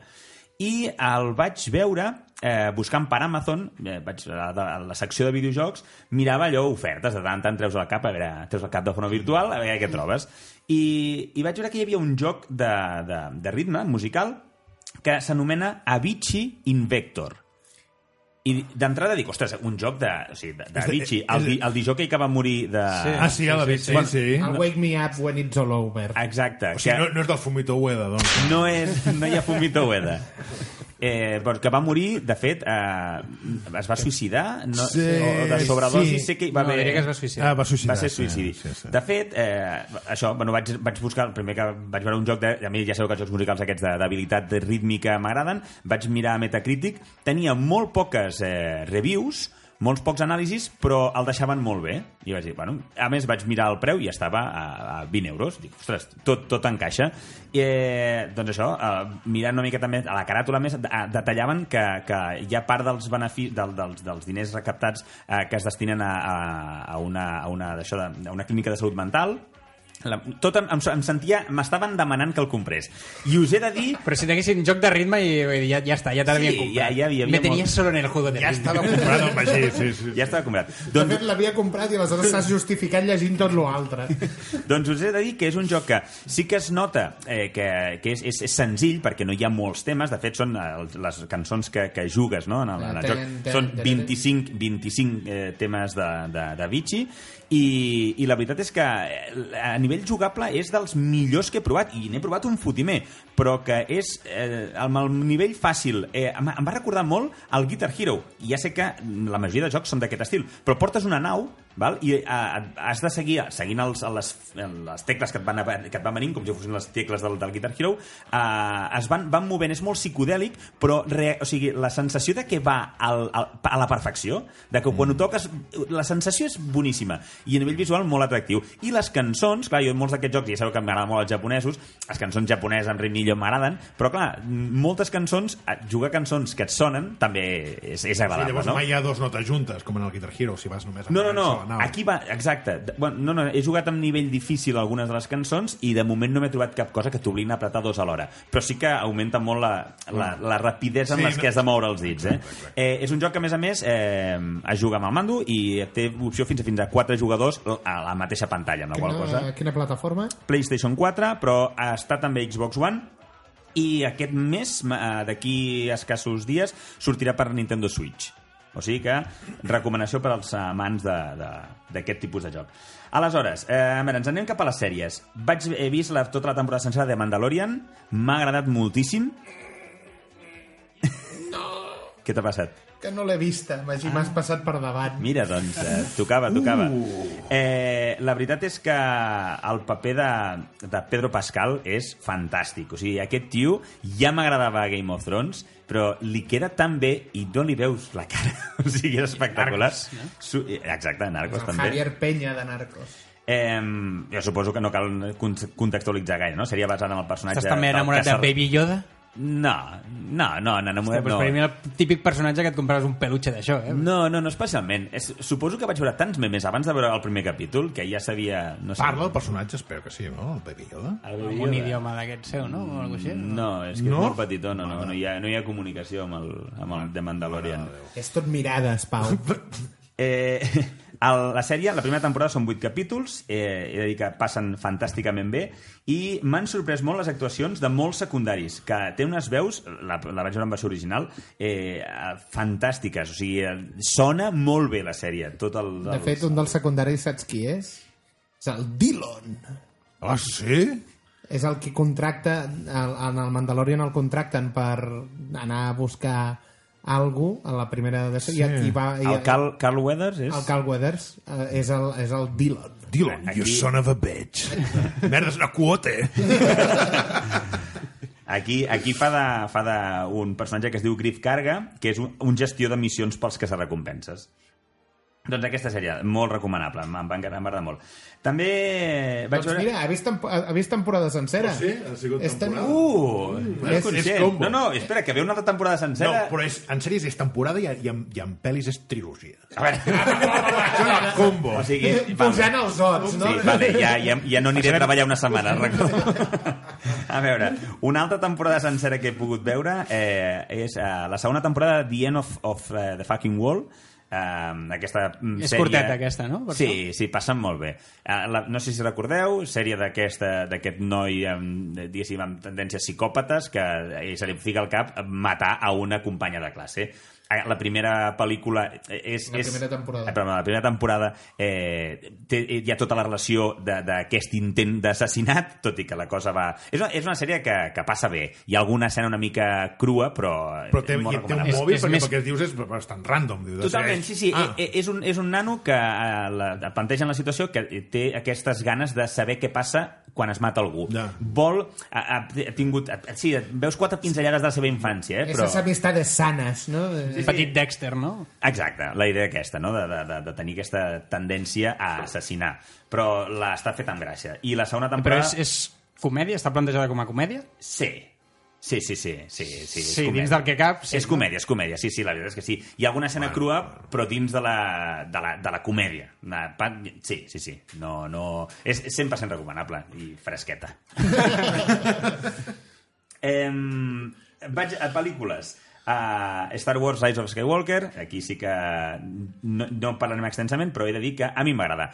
S3: I el vaig veure eh, buscant per Amazon, eh, vaig a la, a la secció de videojocs, mirava allò, ofertes, de tant en tant treus el cap, a veure, treus el cap de forma virtual, a veure què trobes. I, i vaig veure que hi havia un joc de, de, de ritme musical que s'anomena Avicii Invector. I d'entrada dic, ostres, un joc de... O sigui, de- d'Avicii, el, di- el dijòquei que va morir de...
S1: Ah, sí, a la sí, sí, sí.
S4: Ah,
S2: El Wake Me Up When It's All Over.
S3: Exacte.
S1: O sigui,
S3: que-
S1: no, no és del Fumito Ueda, doncs.
S3: no, és, no hi ha Fumito Ueda. Eh, però que va morir, de fet, eh, es va suïcidar no,
S1: Sí,
S3: o de sobredosi,
S1: sí.
S3: sé que hi va
S4: no,
S3: haver...
S4: diré que es va suïcidar.
S1: Ah, va suïcidar.
S3: Va ser suïcidi.
S1: Sí, sí, sí.
S3: De fet, eh, això, bueno, vaig, vaig buscar, el primer que vaig veure un joc, de, a mi ja sabeu que els jocs musicals aquests de- d'habilitat rítmica m'agraden, vaig mirar a Metacritic, tenia molt poques eh, reviews, molts pocs anàlisis, però el deixaven molt bé. I vaig dir, bueno, a més vaig mirar el preu i estava a, a 20 euros. Dic, ostres, tot, tot encaixa. I, eh, doncs això, eh, mirant una mica també a la caràtula més, de- ah, detallaven que, que hi ha part dels, benefi, del, dels, dels diners recaptats eh, que es destinen a, a, a una, a una, d'això de- a una clínica de salut mental, la, tot em, em, em sentia... M'estaven demanant que el comprés. I us he de dir
S4: Però si tinguessin joc de ritme i, i ja, ja està, ja te l'havien
S3: Sí,
S4: comprat.
S3: ja- ja havia-
S4: Me
S3: havia
S4: tenies
S3: molt-
S4: solo en el juego de
S1: Ja
S4: ritme.
S1: estava comprat el Ah, Magí, sí, sí.
S3: ja estava comprat.
S2: De
S3: Doncs,
S2: fet, l'havia comprat i aleshores s'has justificat llegint tot l'altre.
S3: doncs us he de dir que és un joc que sí que es nota eh, que, que és, és, és senzill perquè no hi ha molts temes, de fet són eh, els- les cançons que, que jugues no? en el, en el joc.
S2: Tenen- tenen-
S3: Són
S2: tenen-
S3: 25, 25 eh, temes de, de, de Vichy i, i la veritat és que eh, a nivell jugable és dels millors que he provat i n'he provat un fotimer, però que és eh, amb el nivell fàcil eh, em, em va recordar molt al Guitar Hero i ja sé que la majoria de jocs són d'aquest estil, però portes una nau val? i eh, has de seguir seguint els, les, les tecles que et, van, que et van venint, com si fossin les tecles del, del Guitar Hero, eh, es van, van movent, és molt psicodèlic, però re, o sigui, la sensació de que va al, al, a la perfecció, de que
S1: Mm.
S3: quan ho toques la sensació és boníssima i a nivell visual molt atractiu. I les cançons, clar, jo en molts d'aquests jocs, ja sabeu que m'agraden molt els japonesos, les cançons japoneses en ritme millor m'agraden, però clar, moltes cançons, eh, jugar cançons que et sonen també és, és
S1: Sí,
S3: agradable,
S1: llavors
S3: no?
S1: mai hi ha dos notes juntes, com en el Guitar Hero, si vas només amb
S3: No, no,
S1: una sola
S3: no.
S1: nau.
S3: Aquí va, exacte. De- Bueno, no, no, he jugat amb nivell difícil algunes de les cançons i de moment no m'he trobat cap cosa que t'oblina a apretar dos alhora. Però sí que augmenta molt la, la, la rapidesa
S1: Sí,
S3: amb les
S1: no-
S3: que has de moure els dits. Eh? Eh, és un joc que, a més a més, eh, es juga amb el mando i té opció fins a fins a quatre jugadors a la mateixa pantalla, amb la qual cosa...
S2: Quina, quina plataforma?
S3: PlayStation 4, però està també Xbox One i aquest mes, eh, d'aquí a escassos dies, sortirà per Nintendo Switch. O sigui que recomanació per als amants de- de- d'aquest tipus de joc. Aleshores, eh, a veure, ens anem cap a les sèries. Vaig, he vist la, tota la temporada sencera de Mandalorian, m'ha agradat moltíssim. Què t'ha passat?
S2: Que no l'he vista, Magí, m'has passat per davant.
S3: Mira, doncs, eh, tocava, tocava. Uh. Eh, la veritat és que el paper de, de Pedro Pascal és fantàstic. O sigui, aquest tio ja m'agradava a Game of Thrones, però li queda tan bé i no li veus la cara. O sigui, és espectacular.
S4: Narcos, no?
S3: Su- eh, Exacte, Narcos
S2: El
S3: també.
S2: Javier Peña de Narcos.
S3: Eh, jo suposo que no cal con- contextualitzar gaire, no? Seria basat en el personatge...
S4: Estàs també
S3: del
S4: enamorat de
S3: caçar-
S4: Baby Yoda?
S3: No, no, no, no,
S4: Hòstia,
S3: enamorat
S4: doncs
S3: no.
S4: per mi el típic personatge que et compraves un peluche d'això, eh?
S3: No, no, no especialment. És, suposo que vaig veure tants memes abans de veure el primer capítol que ja sabia... No sé,
S1: Parla el personatge, espero que sí, no? El Baby Yoda?
S3: El
S4: Amb
S3: Baby
S4: un
S3: Yoda.
S4: idioma d'aquest seu, no? O alguna cosa així.
S3: eh? No, és que no?
S1: No?
S3: és molt petitó, no, no, no, hi ha, no hi ha comunicació amb el, amb el de Mandalorian.
S2: És tot mirades, Pau.
S3: Eh, el, la sèrie, la primera temporada són 8 capítols, eh, he de dir que passen fantàsticament bé, i m'han sorprès molt les actuacions de molts secundaris, que té unes veus, la, la vaig veure en versió original, eh, eh, fantàstiques, o sigui, eh, sona molt bé la sèrie. Tot el,
S2: De fet, un dels secundaris saps qui és? És el Dillon.
S1: Ah, sí?
S2: És el que contracta, el- en el Mandalorian el contracten per anar a buscar algú a la primera de... Sí. I aquí va... I,
S3: El Carl, Carl Weathers és...
S2: el Carl Weathers eh, és el, és el Dillon.
S1: Dylan, you
S3: Aquí-
S1: son of a bitch. Merda, és una quote.
S3: Aquí, aquí fa, de, fa de un personatge que es diu Griff Carga, que és un, un gestió de missions pels que se recompenses. Doncs aquesta sèrie, molt recomanable, em va enca- em va agradar molt. També eh, vaig
S2: Doncs
S3: veure...
S2: mira, ha vist, tempo, ha ha vist temporada sencera.
S1: Oh, sí? Ha sigut
S2: És tan-
S1: temporada?
S3: Uh, no
S1: Mm. és-
S3: és,
S1: és
S3: conscient.
S1: combo.
S3: No, no, espera, que ve una altra temporada
S1: No,
S3: sencera.
S1: però és, en sèries és temporada i, i, en, i en pel·lis és trilogia.
S3: A veure...
S1: Això és el combo.
S3: o sigui,
S2: Uh,
S3: va,
S2: Posant els odds, no?
S3: Sí, vale, ja, ja, ja no aniré a treballar una setmana, recordo. A veure, una altra temporada sencera que he pogut veure eh, és eh, la segona temporada de The End of, of eh, the Fucking Wall, eh, aquesta mm,
S4: És
S3: sèrie...
S4: curteta, aquesta, no? Per
S3: sí, sí, passen molt bé. Eh, la, no sé si recordeu, sèrie d'aquesta- d'aquest noi amb, diguéssim, amb tendències psicòpates que eh, se li fica al cap matar a una companya de classe. Eh, La primera pel·lícula eh, és...
S2: La
S3: és-
S2: primera temporada.
S3: Eh, perdó, la primera temporada eh, té, hi ha tota la relació de- d'aquest intent d'assassinat, tot i que la cosa va... És una, és una sèrie que, que passa bé. Hi ha alguna escena una mica crua, però...
S1: Però té,
S3: és molt
S1: i té un
S3: recomanable.
S1: mòbil
S4: És- és
S1: perquè
S4: més-
S1: el que dius és bastant random. Diu,
S3: Totalment,
S1: és-
S3: sí, sí.
S1: Ah,
S3: Ah. És, un, és un nano que eh, la, planteja en la situació que té aquestes ganes de saber què passa quan es mata algú.
S1: Ja.
S3: Vol... Ha, ha, ha tingut... Ha, sí, veus quatre pinzellades de la seva infància, eh?
S2: Però...
S3: Però...
S2: Esas amistades sanes, no?
S4: Un Petit Dexter, no?
S3: Exacte, la idea aquesta, no? de, de, de, de tenir aquesta tendència a assassinar. Però l'està fet amb gràcia. I la segona
S4: Però
S3: temporada...
S4: és, és comèdia? Està plantejada com a comèdia?
S3: Sí. Sí, sí, sí. Sí, sí, és
S4: Sí,
S3: comèdia.
S4: dins del que cap, sí,
S3: és
S4: no?
S3: comèdia, és comèdia, sí, sí, la veritat és que sí. Hi ha alguna escena
S1: Bueno,
S3: crua,
S1: bueno.
S3: però dins de la, de la, de la comèdia. Una pa- Sí, sí, sí. No, no... És 100% recomanable i fresqueta. eh, vaig a pel·lícules. Uh, Star Wars Rise of Skywalker, aquí sí que no, no en parlarem extensament, però he de dir que a mi m'agrada.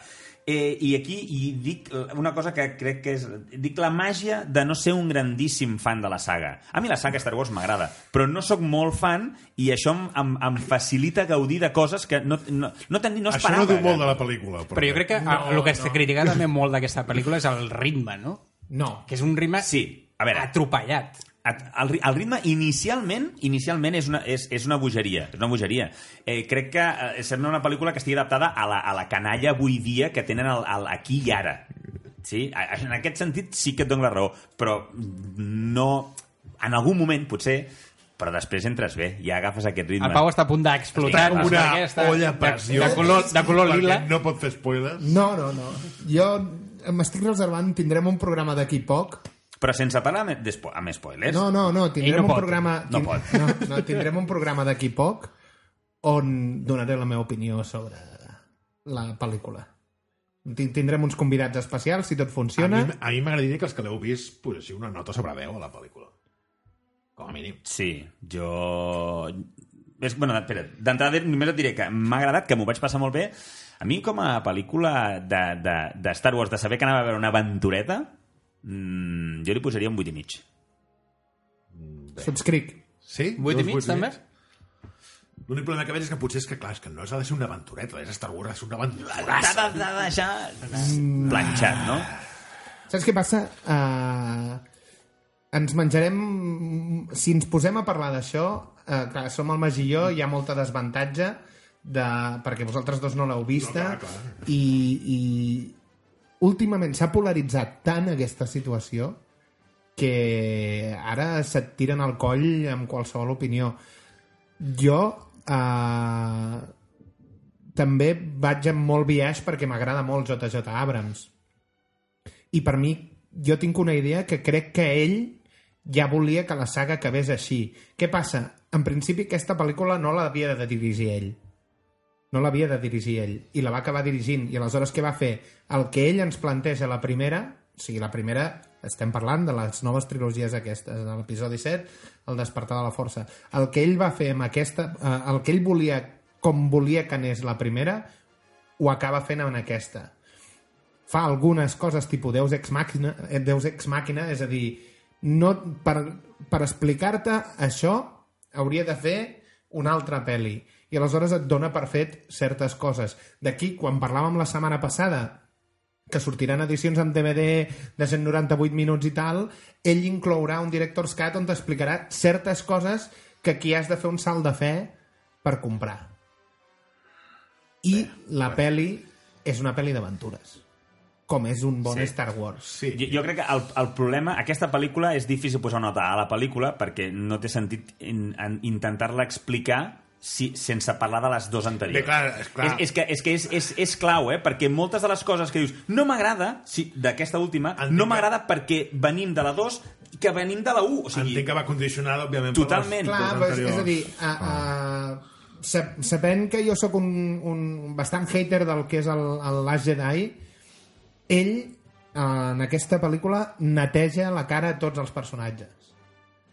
S3: Eh, I aquí hi dic una cosa que crec que és... Dic la màgia de no ser un grandíssim fan de la saga. A mi la saga Star Wars m'agrada, però no sóc molt fan i això em, em, em facilita gaudir de coses que no, no, no, ten, no eh.
S1: Això
S3: esperava.
S1: no diu molt de la pel·lícula. Però,
S4: Però jo crec que no, el que es no. critica també molt d'aquesta pel·lícula és el ritme, no?
S2: No.
S4: Que és un ritme
S3: Sí, a veure.
S4: atropellat.
S3: Et- El, ri- el ritme inicialment inicialment és una, és, és una bogeria. És una bogeria. Eh, crec que eh, sembla una pel·lícula que estigui adaptada a la, a la canalla avui dia que tenen el, el aquí i ara. Sí? A- En aquest sentit sí que et dono la raó, però no... En algun moment, potser, però després entres bé, ja agafes aquest ritme.
S4: El Pau està a punt d'explotar
S3: Estic
S4: amb
S1: Una
S4: aquesta,
S1: olla a
S4: de-
S1: pressió.
S4: De, color, de color
S1: Perquè
S4: lila.
S1: No pot fer spoilers.
S2: No, no, no. Jo m'estic reservant, tindrem un programa d'aquí poc.
S3: Però sense parlar amb, d'espo- amb spoilers.
S2: No, no, no,
S4: Ell
S2: tindrem un
S4: no pot.
S2: programa...
S3: No
S2: tin-
S3: pot.
S2: No, no, tindrem un programa d'aquí poc on donaré la meva opinió sobre la pel·lícula. Tin- Tindrem uns convidats especials, si tot
S1: A mi,
S2: funciona.
S1: a mi m'agradaria que els que l'heu vist posessi una nota sobre 10 a la pel·lícula. Com a mínim.
S3: Sí, jo... És, bueno, espera, d'entrada només et diré que m'ha agradat, que m'ho vaig passar molt bé. A mi, com a pel·lícula de, de, de Star Wars, de saber que anava a veure una aventureta, mmm, jo li posaria un 8 i mig.
S2: Subscric.
S1: Sí? Doncs
S4: 8
S1: Dos
S4: i mig,
S1: vuits
S4: també?
S1: L'únic problema que veig és que potser és que, clar, és que no és ha de ser una aventureta, és Star Wars, és una aventureta.
S3: T'ha de, de deixar planxat, no?
S2: Saps què passa? Uh, ens menjarem... Si ens posem a parlar d'això, eh, clar, som el Magí i jo, hi ha molta desavantatge, de, perquè vosaltres dos no l'heu vista, no, clar, clar. i, i últimament s'ha polaritzat tant aquesta situació que ara se't tiren al coll amb qualsevol opinió. Jo eh, també vaig amb molt biaix perquè m'agrada molt JJ Abrams. I per mi, jo tinc una idea que crec que ell ja volia que la saga acabés així. Què passa? En principi aquesta pel·lícula no l'havia de dirigir ell. No l'havia de dirigir ell. I la va acabar dirigint. I aleshores què va fer? El que ell ens planteja a la primera, o sigui, la primera estem parlant de les noves trilogies aquestes, de l'episodi 7, el despertar de la força. El que ell va fer amb aquesta, eh, el que ell volia, com volia que anés la primera, ho acaba fent en aquesta. Fa algunes coses tipus Deus Ex Machina, eh, Deus Ex Machina és a dir, no, per, per explicar-te això hauria de fer una altra pel·li i aleshores et dona per fet certes coses. D'aquí, quan parlàvem la setmana passada que sortiran edicions en DVD de 198 minuts i tal, ell inclourà un Director's Cut on t'explicarà certes coses que aquí has de fer un salt de fe per comprar. I la peli és una peli d'aventures, com és un bon
S3: Sí.
S2: sí. Star Wars.
S1: Sí.
S3: Jo, jo crec que el, el problema... Aquesta pel·lícula és difícil posar nota a la pel·lícula perquè no té sentit in, en intentar-la explicar si, sense parlar de les dues anteriors.
S1: Bé, clar, és clar.
S3: És, és que, és, que és, és, és clau, eh? Perquè moltes de les coses que dius no m'agrada, sí, d'aquesta última,
S1: Entenc
S3: no
S1: que-
S3: m'agrada perquè venim de la 2 i que venim de la 1. O sigui,
S1: Entenc que va condicionada, òbviament,
S3: Totalment.
S1: per les
S2: Clar,
S1: dues
S2: però és, és a dir,
S1: anteriors.
S2: a, a, sap- sabent que jo sóc un, un bastant hater del que és el, el Last Jedi, ell, eh, en aquesta pel·lícula, neteja la cara a tots els personatges.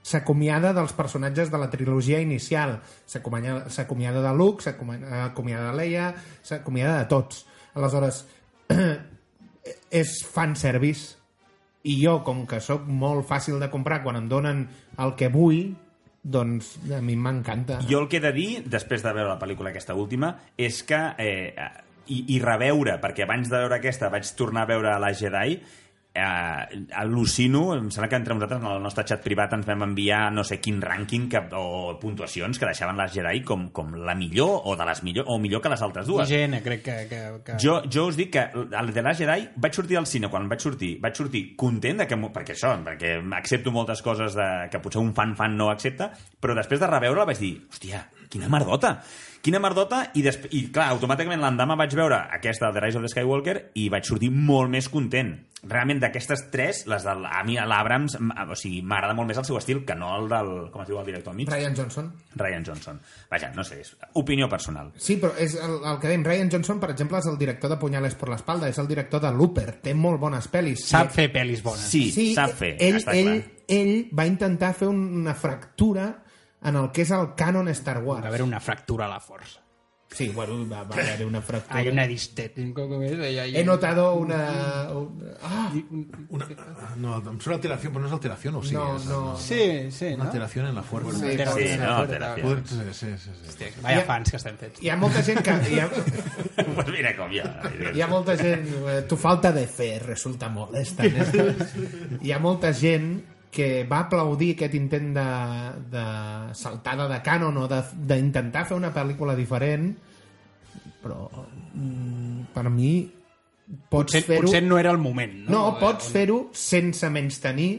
S2: S'acomiada dels personatges de la trilogia inicial. S'acomiada s'acomiada de Luke, s'acomiada acomiada de Leia, s'acomiada de tots. Aleshores, és fanservice i jo, com que sóc molt fàcil de comprar quan em donen el que vull, doncs a mi m'encanta.
S3: Jo el que he de dir, després de veure la pel·lícula aquesta última, és que... Eh, i, i reveure, perquè abans de veure aquesta vaig tornar a veure la Jedi, eh, al·lucino, em sembla que entre nosaltres en el nostre xat privat ens vam enviar no sé quin rànquing que, o puntuacions que deixaven les Jedi com, com la millor o de les millor, o millor que les altres dues.
S4: IGN, crec que... que, que...
S3: Jo, jo us dic que el de Last Jedi vaig sortir al cine quan vaig sortir, vaig sortir content de que, mo- perquè això, perquè accepto moltes coses de, que potser un fan-fan no accepta, però després de reveure-la vaig dir, hòstia, quina merdota! Quina merdota! I, desp- i clar, automàticament l'endemà vaig veure aquesta, The Rise of the Skywalker, i vaig sortir molt més content. Realment, d'aquestes tres, les de, a mi l'Abrams, m- o sigui, m'agrada molt més el seu estil que no el del, com es diu el director al mig?
S2: Ryan Johnson.
S3: Ryan Johnson. Vaja, no sé, és opinió personal.
S2: Sí, però és el, el que dèiem. Ryan Johnson, per exemple, és el director de Punyales per l'espalda, és el director de Looper, té molt bones pel·lis.
S4: Sap fer pel·lis bones.
S3: Sí, sap fer,
S2: eh, ell,
S3: està
S2: ell,
S3: clar.
S2: ell va intentar fer una fractura en el que és el canon Star Wars.
S4: Va haver una fractura a la força.
S2: Sí, bueno, va, va haver una fractura.
S4: Hay una distet... Com és? Hay, hay...
S2: He notado una... una... Ah,
S1: Una, Ah, no, em surt alteració, però no és alteració, o sigui,
S2: no,
S1: és
S2: no.
S4: Sí, sí,
S1: una
S4: no?
S1: alteració en la forma.
S2: Sí.
S3: Sí, no, teràpia.
S1: Podria- Sí, sí, sí. sí.
S4: Vaya fans que estem fets.
S2: Hi ha molta gent que... Hi ha,
S3: pues mira com ja.
S2: Hi ha molta gent... eh, Tu falta de fe resulta molesta. Néstor. Hi ha molta gent que va aplaudir aquest intent de, de saltada de cànon o de- d'intentar fer una pel·lícula diferent, però mm, per mi pots
S4: Potser,
S2: fer-ho...
S4: potser no era el moment, no?
S2: No,
S1: eh,
S2: pots fer-ho sense menys tenir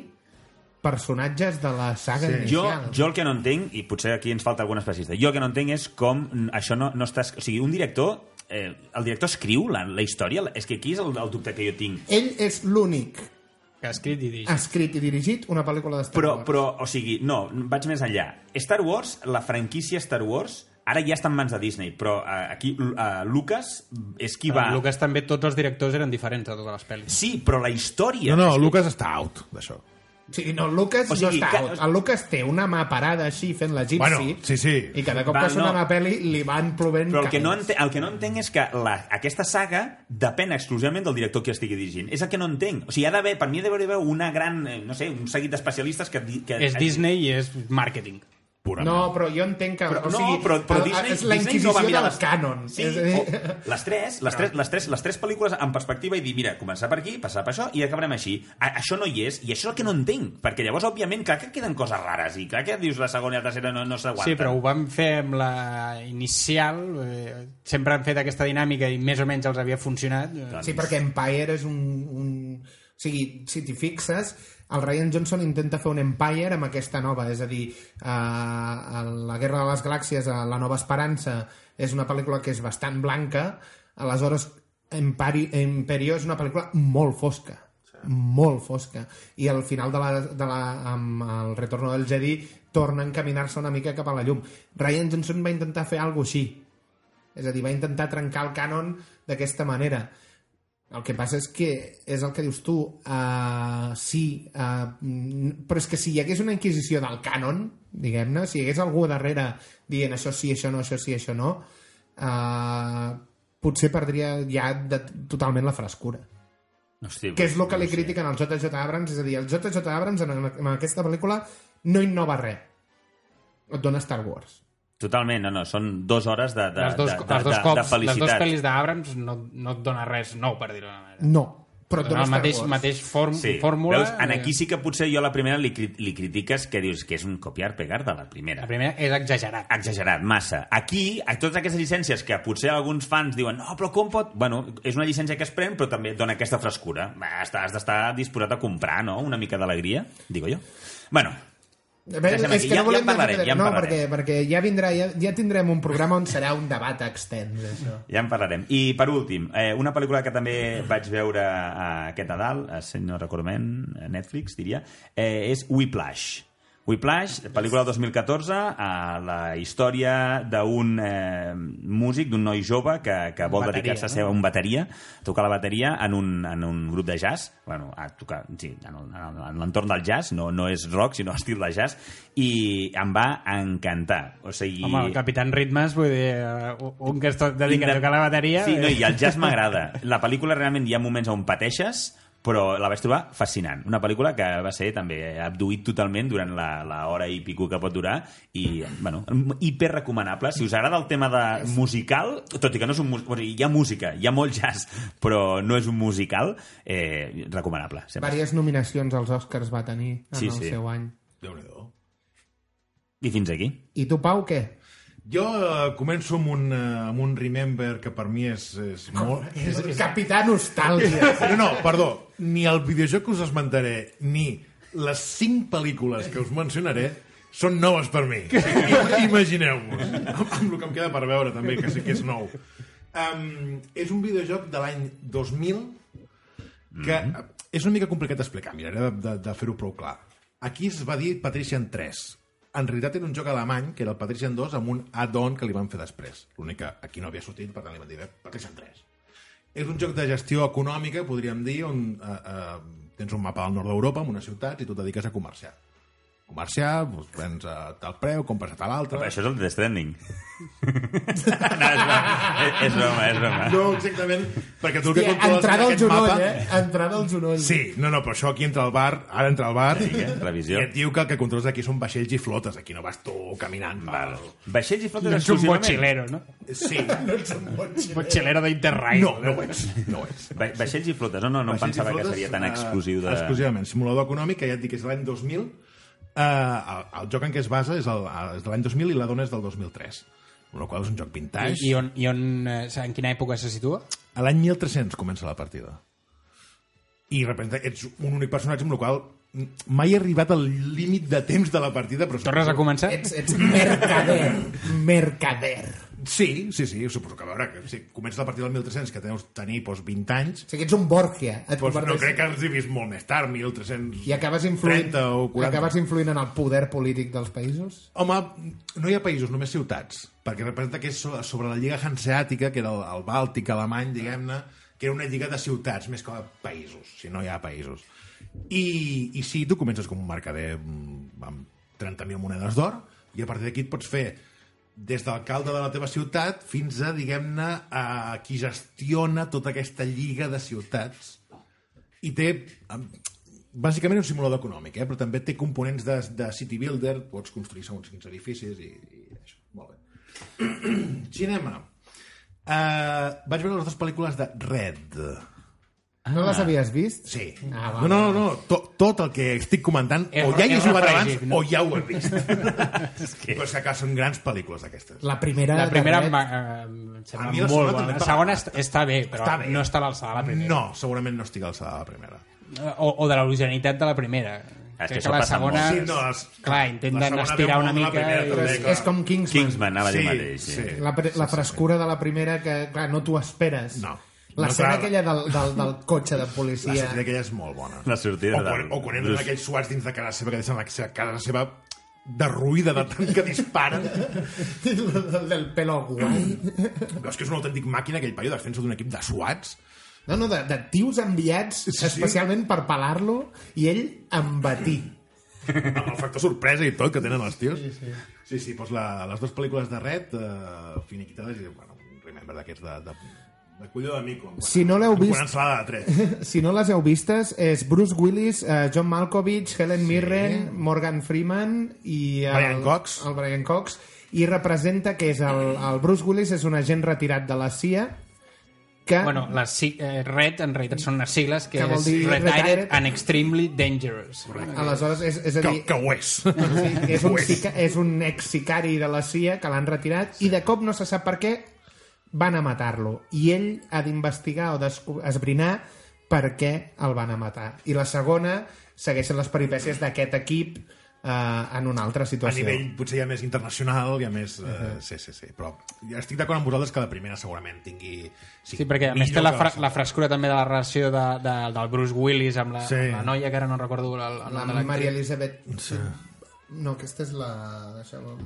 S2: personatges de la saga
S1: Sí.
S3: Jo,
S2: inicial.
S3: jo el que no entenc, i potser aquí ens falta algun especialista, jo el que no entenc és com mm, això no, no està... es- O sigui, un director... Eh, el director escriu la, la història? És que aquí és el, el dubte que jo tinc.
S2: Ell és l'únic
S4: Que ha escrit i dirigit.
S2: escrit i dirigit una pel·lícula d'Star
S3: Però,
S2: Wars.
S3: però, o sigui, no, vaig més enllà. Star Wars, la franquícia Star Wars, ara ja està en mans de Disney, però eh, aquí eh, Lucas és qui va...
S4: En Eh, Lucas també tots els directors eren diferents a totes les pel·lis.
S3: Sí, però la història...
S1: No, no, Lucas està out d'això.
S2: Sí, no, el Lucas
S3: O
S2: o sigui,
S3: sigui,
S2: no
S3: que-
S2: està out. El Lucas té una mà parada així fent la gipsy
S1: Bueno, sí, sí.
S2: i cada cop
S3: Va,
S2: que sona
S3: no.
S2: una pel·li li van plovent
S3: Però el que, no
S2: cabells.
S3: entenc, el que no entenc és que la, aquesta saga depèn exclusivament del director que estigui dirigint. És el que no entenc. O sigui, hi ha d'haver, per mi hi ha d'haver una gran, eh, no sé, un seguit d'especialistes que, di- que...
S4: És Disney i és màrqueting.
S1: purament.
S2: No, però jo entenc que...
S3: Però,
S2: o
S3: no,
S2: sigui,
S3: però, però
S2: el-
S3: Disney,
S2: és la
S3: Disney no
S2: inquisició
S3: va mirar
S2: del
S3: les...
S2: cànon.
S3: Sí,
S2: És a dir-
S3: o les, tres, les, tres, les, tres, les tres pel·lícules en perspectiva i dir, mira, començar per aquí, passar per això i acabarem així. A, això no hi és i això és el que no entenc, perquè llavors, òbviament, clar que queden coses rares i clar que dius la segona i la tercera no, no s'aguanten.
S4: Sí, però ho vam fer amb la inicial, eh, sempre han fet aquesta dinàmica i més o menys els havia funcionat. Eh,
S2: Sí, perquè Empire és un... un... O sigui, si t'hi fixes, el Ryan Johnson intenta fer un Empire amb aquesta nova, és a dir, eh, a la Guerra de les Galàxies, a La Nova Esperança, és una pel·lícula que és bastant blanca, aleshores Empari, Imperio és una pel·lícula molt fosca, molt fosca i al final de la, de la, amb el retorno del Jedi torna a encaminar-se una mica cap a la llum Ryan Johnson va intentar fer alguna cosa així és a dir, va intentar trencar el cànon d'aquesta manera. El que passa és que és el que dius tu, uh, sí, uh, però és que si hi hagués una inquisició del cànon, diguem-ne, si hi hagués algú darrere dient això sí, això no, això sí, això no, uh, potser perdria ja de, totalment la frescura.
S3: Hosti,
S2: Que és el que li
S3: no sé.
S2: critiquen al JJ Abrams, és a dir, el JJ Abrams en, en aquesta pel·lícula no innova res. Et dona Star Wars.
S3: Totalment, no, no, són dues hores de, de,
S4: les dos,
S3: de, de,
S4: els dos
S3: de, de
S4: cops, les dues
S3: felicitat.
S4: pel·lis d'Abrams no, no et dona res nou, per dir-ho d'una manera.
S2: No, però et dona
S4: Dona el
S2: Star
S4: mateix,
S2: Wars.
S4: mateix form,
S3: Sí.
S4: fórmula...
S3: Veus, en
S4: eh,
S3: aquí sí que potser jo a la primera li, cri- li critiques que dius que és un copiar-pegar de la primera.
S4: La primera és exagerat.
S3: exagerat, massa. Aquí, a totes aquestes llicències que potser alguns fans diuen no, però com pot... Bueno, és una llicència que es pren, però també et dona aquesta frescura. Va, Has de- has d'estar disposat a comprar, no? Una mica d'alegria, digo jo. Bueno,
S2: A veure,
S3: Deixa'm
S2: és
S3: aquí.
S2: que
S3: Ja-
S2: no volem
S3: ja en parlarem,
S2: debatere-
S3: ja en
S2: no,
S3: parlarem.
S2: perquè, perquè ja vindrà, ja, ja tindrem un programa on serà un debat extens, això.
S3: ja en parlarem. I, per últim, eh, una pel·lícula que també vaig veure eh, aquest Nadal, eh, si no recordo ben, a Netflix, diria, eh, és Whiplash. Whiplash, pel·lícula del 2014, eh, la història d'un eh, músic, d'un noi jove que, que vol
S4: Bateria,
S3: dedicar-se a
S4: no?
S3: ser un bateria, tocar la bateria en un, en un grup de jazz, bueno, a tocar, sí, en, el- en el- en l'entorn del jazz, no, no és rock, sinó estil de jazz, i em va encantar. O sigui,
S4: Home, el Capitán Ritmes, vull dir, eh, un que es to- dedica a tocar la bateria...
S3: Sí, no,
S4: eh,
S3: i el jazz m'agrada. La pel·lícula realment hi ha moments on pateixes, però la vaig trobar fascinant. Una pel·lícula que va ser també abduït totalment durant la, la hora i pico que pot durar i, bueno, hiper recomanable. Si us agrada el tema de musical, tot i que no és un mus- o sigui, hi ha música, hi ha molt jazz, però no és un musical, eh, recomanable. Sempre.
S2: Vàries nominacions als Oscars va tenir en
S3: Sí,
S2: el
S3: sí.
S2: seu any.
S1: Déu-n'hi-do.
S3: I fins aquí.
S2: I tu, Pau, què?
S1: Jo eh, començo amb un, eh, amb un Remember que per mi és, és molt... És, és...
S2: Capità Nostàlgia.
S1: No, no, perdó. Ni el videojoc que us esmentaré, ni les cinc pel·lícules que us mencionaré són noves per mi. Imagineu-vos. Amb, amb el que em queda per veure, també, que sí que és nou. Um, és un videojoc de l'any 2000 que eh,
S2: Mhm.
S1: és una mica complicat d'explicar, miraré de, de, de fer-ho prou clar. Aquí es va dir Patrician 3. En realitat era un joc alemany, que era el Patrician 2, amb un add-on que li van fer després. L'únic que aquí no havia sortit, per tant li van dir eh, Patrician 3. És un joc de gestió econòmica, podríem dir, on eh, eh, tens un mapa del nord d'Europa, amb unes ciutats, i tu et dediques a comerciar. Comerciar, doncs, prens a tal preu, compres a tal altre...
S3: Però això és el Death Stranding. no, és broma, és, és broma. És broma.
S1: No, exactament, perquè tu el que
S2: Hòstia,
S1: controles és
S2: entrada al
S1: aquest
S2: genoll,
S1: mapa...
S2: eh? Entrada al genoll.
S1: Sí, no, no, però això aquí entra al bar, ara entra al bar, sí,
S3: eh? Revisió.
S1: i et diu que el que controles aquí són vaixells i flotes, aquí no vas tu caminant. Val.
S3: Vaixells i flotes
S4: No ets un
S3: exclusivament.
S4: mochilero, no?
S1: Sí, no ets un bon
S4: Un mochilero d'Interrail.
S1: No, no ho ets, no ho ets.
S3: Va vaixells i flotes. No, no, no em
S1: Vaixells i
S3: pensava que
S1: flotes,
S3: seria tan
S1: eh,
S3: exclusiu de...
S1: Exclusivament, simulador econòmic, que ja et dic que és l'any 2000, eh, el, el joc en què es basa és, el, és de l'any 2000 i la dona és del 2003, amb la qual cosa és un joc vintage.
S4: I, i, on, i on, eh, en quina època se situa?
S1: A l'any 1300 comença la partida. I de repente ets un únic personatge amb el qual mai he arribat al límit de temps de la partida, però...
S4: Tornes a començar?
S2: Ets, ets mercader. Mercader.
S1: Sí, sí, sí, suposo que a veure, que si comença la partida del 1300, que deus tenir doncs, 20 anys,
S2: O sigui, ets un Borgia. Et
S1: doncs no
S2: converteixes-
S1: crec que els he vist molt més tard, 1300...
S2: I acabes influint,
S1: 30 o 40.
S2: acabes influint en el poder polític dels països?
S1: Home, no hi ha països, només ciutats, perquè representa que és so- sobre la Lliga Hanseàtica, que era el, el Bàltic alemany, diguem-ne, que era una lliga de ciutats, més que de països, si no hi ha països. I, i sí, tu comences com un mercader mm, amb 30.000 monedes d'or, i a partir d'aquí et pots fer des de l'alcalde de la teva ciutat fins a, diguem-ne, a qui gestiona tota aquesta lliga de ciutats i té em, bàsicament un simulador econòmic, eh? però també té components de, de city builder, pots construir segons quins edificis i, i això. Molt bé. Cinema. Uh, vaig veure les dues pel·lícules de Red.
S2: No
S3: Ah.
S2: les havies vist?
S1: Sí.
S2: Ah,
S1: Ah, no,
S2: va,
S1: no, no, to, tot el que estic comentant
S4: És-
S1: o ja hi he
S4: és
S1: jugat
S4: refregit,
S1: abans
S4: no?
S1: o ja ho he vist. Però és que clar, són grans pel·lícules aquestes.
S2: La primera...
S4: La primera
S2: de
S4: em
S2: Red,
S4: va, eh, em sembla
S1: A mi la segona
S4: molt
S1: també em
S4: bona. La
S1: va
S4: segona
S1: agradar.
S4: est- està bé, però
S1: Està bé.
S4: no està a l'alçada de la primera.
S1: No, segurament no estic a l'alçada de la primera.
S4: O, o de l'originalitat de la primera.
S3: Ah, És que
S4: Crec
S3: això
S4: la
S3: passa
S4: segona...
S1: molt. Sí, no, les-
S4: clar,
S1: la
S4: intenten
S1: segona
S4: estirar
S1: veu
S4: una
S1: molt la
S4: mica...
S1: primera,
S4: i...
S2: Però és,
S1: també,
S2: és com Kingsman.
S3: Kingsman, anava a dir
S1: Sí,
S3: mateix. Sí.
S1: sí.
S2: La, pre la frescura de la primera que, clar, no t'ho esperes.
S1: No. No,
S2: L'escena
S1: clar.
S2: aquella del, del, del cotxe de
S1: La
S2: policia...
S1: sortida aquella és molt bona.
S3: La sortida
S1: o quan,
S3: del-
S1: o quan entren
S3: del-
S1: aquells suats dins de casa seva que deixen la seva casa seva derruïda de tant que disparen.
S2: del, del pelo guai.
S1: Veus que és una autèntic màquina aquell paio defensa d'un equip de suats.
S2: No, no, de, de tios enviats sí. especialment per pelar-lo i ell embatí.
S1: amb el factor sorpresa i tot que tenen els tios. Sí, sí. Sí, sí, doncs la, les dues pel·lícules de Red, eh, finiquitades i, bueno, un remember d'aquests de, de, de colló de mico. en Quan,
S2: Si no l'heu
S1: en
S2: vist-
S1: Quan ensalada de tres.
S2: Si no les heu vistes, és Bruce Willis, eh, John Malkovich, Helen sí. Mirren, Morgan Freeman i... El,
S1: Brian Cox.
S2: El Brian Cox. I representa que és el, el Bruce Willis és un agent retirat de la CIA que...
S4: Bueno, les si- eh, RED en realitat són unes sigles que,
S2: Que vol
S4: és
S2: dir
S4: Retired,
S2: Retired.
S4: and Extremely Dangerous.
S2: Aleshores, és, és a
S1: Que,
S2: dir...
S1: que ho és.
S2: Sí, és, un
S1: Ho és.
S2: sica, és un ex-sicari de la CIA que l'han retirat i de cop no se sap per què van a matar-lo i ell ha d'investigar o desco- esbrinar per què el van a matar i la segona segueixen les peripècies d'aquest equip eh, en una altra
S1: A
S2: situació
S1: nivell potser ja més internacional, ja més... Eh, Sí, sí, sí. Però ja estic d'acord amb vosaltres que la primera segurament tingui...
S4: Sí, perquè a més té
S1: millor
S4: la,
S1: que
S4: fra
S1: segona.
S4: la frescura també de la relació de, de, del Bruce Willis amb la,
S1: Sí.
S4: amb la noia, que ara no recordo el, el
S2: la
S4: nom de
S2: Maria
S4: l'actriu.
S2: Elisabet sí. no, aquesta és la deixeu-me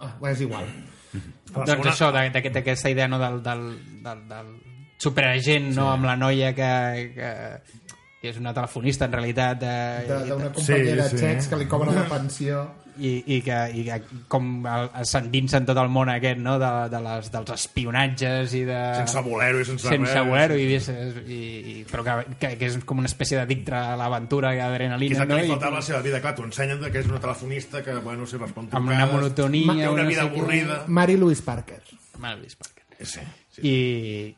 S2: ah, bé, és igual
S1: La
S4: Doncs
S1: segona-
S4: això, d'aquest- d'aquest- d'aquesta idea no, del, del, del, del superagent no, amb la noia que, que, que és una telefonista en realitat eh,
S2: De-
S4: i-
S2: d'una companyera
S1: sí.
S2: sí, sí. txecs que li cobra la pensió
S4: i, i, que, i que com el- s'endinsa en tot el món aquest no? de, de les, dels espionatges i de...
S1: Sense voler-ho i sense,
S4: sense
S1: res.
S4: voler i, i, i, però que, que, que, és com una espècie d'addicte a l'aventura i
S1: Que és
S4: adrenalina
S1: el que
S4: no?
S1: li
S4: I,
S1: faltava a la seva vida. Clar, t'ho ensenyen que és una telefonista que, bueno, si respon trucades...
S4: amb una monotonia
S1: Té una
S4: no
S1: vida
S4: sé què.
S1: avorrida.
S2: Mary Louise Parker
S4: Maravillous Parker.
S1: Eh, Sí, sí.
S4: I,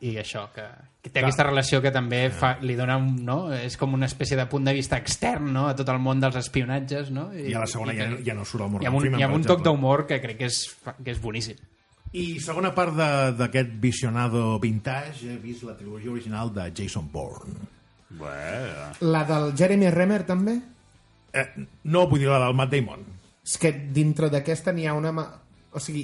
S4: i això que, que té aquesta relació que també fa, li dona un, no? és com una espècie de punt de vista extern no? a tot el món dels espionatges no?
S1: I a la segona ja,
S4: que-
S1: ja no surt el Morgan
S4: i amb un,
S1: Freeman,
S4: i amb
S1: per
S4: un toc
S1: exemple.
S4: d'humor que crec que és, fa- que és boníssim
S1: I segona part de- d'aquest visionado vintage, he vist la trilogia original de Jason Bourne.
S3: Bueno.
S2: la del Jeremy Remer també?
S1: Eh, no vull dir la del Matt Damon.
S2: és que dintre d'aquesta n'hi ha una... ma- O sigui,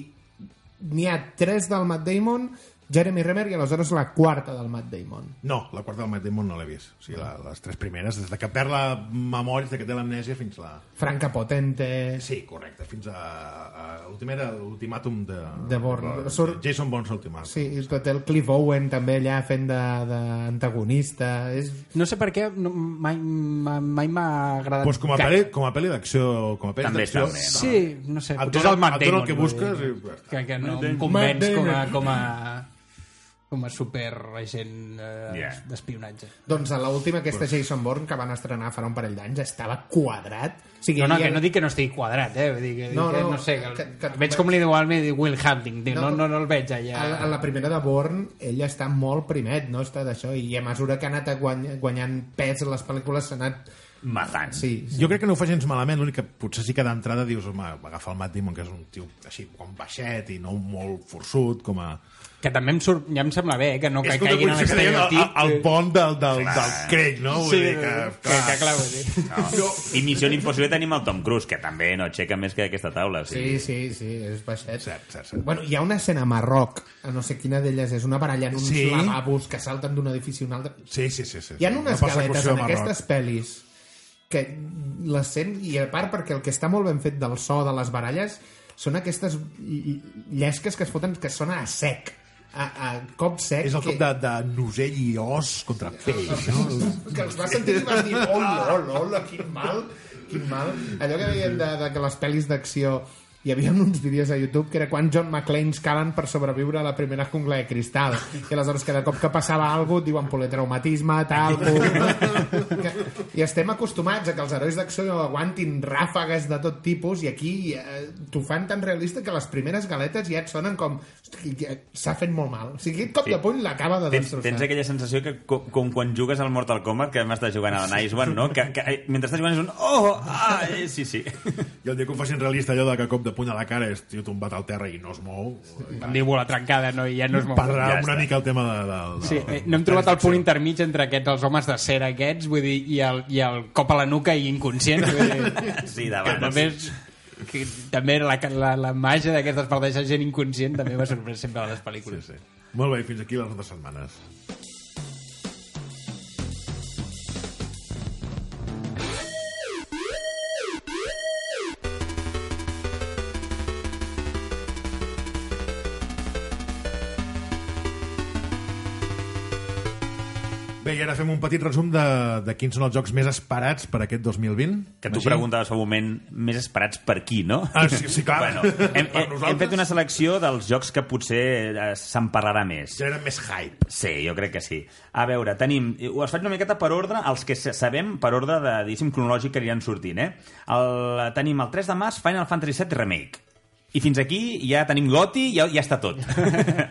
S2: n'hi ha tres del Matt Damon, Jeremy Remer i aleshores la quarta del Matt Damon.
S1: No, la quarta del Matt Damon no l'he vist. O sigui, la, les tres primeres, des de que perd la memòria, des de que té l'amnèsia fins la...
S2: Franca Potente...
S1: Sí, correcte, fins a... a l'última era l'ultimàtum de...
S2: De Bourne.
S1: de-
S2: Surt-
S1: Jason Bourne's ultimàtum.
S2: Sí, i tot el Cliff Owen també allà fent de- d'antagonista. És...
S4: no sé per què no, mai m'ha mai m'ha agradat
S1: Pues Doncs com a
S4: gaire.
S1: pel·li, com a pel·li d'acció... Com a pel·li
S3: També està
S1: d'acció...
S3: bé, no?
S4: Sí, no sé.
S1: Et dona-
S4: potser és el Matt
S1: et dona el
S4: Damon,
S1: que
S4: vull
S1: busques
S4: dir.
S1: i ja està.
S4: Que, que no
S1: Matt
S4: em
S1: Damon.
S4: convenç
S2: Matt
S4: com a,
S2: Damon.
S4: com a, com a superagent eh,
S3: Yeah.
S4: d'espionatge.
S2: Doncs a l'última, aquesta Jason Bourne, que van estrenar farà un parell d'anys, estava quadrat. O sigui,
S4: No, no,
S2: hi ha-
S4: que no dic que no estigui quadrat, eh? Vull dir que, no,
S2: No,
S4: que
S2: no,
S4: no sé, que, que,
S2: que-
S4: que
S2: que-
S4: veig com li diu al meu Will Hunting, diu, no,
S2: No,
S4: no, no el veig allà.
S2: A la, a la primera de Bourne, ell està molt primet, no està d'això, i a mesura que ha anat guany- guanyant pes en les pel·lícules s'ha anat...
S3: Matant.
S2: Sí,
S1: Jo crec que no ho fa gens malament, l'únic que potser sí que d'entrada dius, home, agafa el Matt Damon, que és un tio així, com baixet i no molt forçut, com a...
S4: Que també em, surt, ja em sembla bé, eh? que no
S1: és
S4: que
S1: com una
S4: caiguin en
S1: posició que deien el,
S4: l'estereotip.
S1: el pont del, del, del crec, no? Vull
S4: Sí,
S1: dir que,
S4: que,
S1: clar,
S4: que clar, vull dir.
S3: No. I Missió Impossible tenim el Tom Cruise, que també no aixeca més que aquesta taula. O
S2: Sí,
S3: sigui,
S2: sí, sí, és baixet.
S1: Cert, cert, cert.
S2: Bueno, hi ha una escena a Marroc, a no sé quina d'elles és, una baralla en uns
S1: Sí.
S2: sí. lavabos que salten d'un edifici a un altre.
S1: Sí, sí, sí, sí.
S2: Hi ha
S1: sí. Una
S2: unes galetes
S1: persecució
S2: en
S1: a Marroc.
S2: aquestes pel·lis que les sent, i a part perquè el que està molt ben fet del so de les baralles són aquestes ll- llesques que es foten que sona a sec, a, a cop sec.
S1: És el cop de, de nosell i os contra pell, no?
S2: Que, que els vas sentir i vas dir, hola, hola, hola, quin mal, quin mal. Allò que deien de, de que les pel·lis d'acció hi havia uns vídeos a YouTube que era quan John McClane calen per sobreviure a la primera jungla de cristal. I aleshores cada cop que passava alguna cosa et diuen politraumatisme, tal... pum". que... I estem acostumats a que els herois d'acció aguantin ràfegues de tot tipus i aquí eh, t'ho fan tan realista que les primeres galetes ja et sonen com "Hosti, ja- s'ha fet molt mal. O sigui, aquest cop de puny l'acaba de
S3: Tens,
S2: destrossar.
S3: tens aquella sensació que co- com quan jugues al Mortal Kombat que m'estàs jugant a la Nice One, no? Que, que eh, mentre estàs jugant és un... Oh! Ah, eh, sí, sí.
S1: I el dia que ho facin realista allò de que cop de puny a la cara és tio tombat al terra i no es mou
S4: mandíbula trencada, no, i ja no es mou.
S1: parlarà
S3: Ja
S1: una
S3: està.
S1: mica el tema de, de, de
S4: Sí, eh, no hem trobat el punt intermig entre aquests, els homes de cera aquests, vull dir, i el, i el cop a la nuca i inconscient. Vull dir,
S3: Sí,
S4: que
S3: davant.
S4: només... Que també la, la, la màgia d'aquestes parts de gent inconscient també m'ha sorprès sempre a les pel·lícules.
S1: Sí, sí. eh? Molt bé, i fins aquí les altres setmanes. Bé, i ara fem un petit resum de, de quins són els jocs més esperats per aquest 2020.
S3: Que tu
S1: Magí?
S3: preguntaves fa un moment més esperats per qui, no?
S1: Ah, sí, sí, clar.
S3: Bueno, hem,
S1: Per
S3: hem, hem fet una selecció dels jocs que potser eh, se'n parlarà més.
S1: Ja era més hype.
S3: Sí, jo crec que sí. A veure, tenim... Ho es faig una miqueta per ordre, els que sa- sabem per ordre de, diguéssim, cronològic que aniran sortint, eh? El, tenim el 3 de març Final Fantasy VII Remake. I fins aquí ja tenim Goti, ja, ja està tot.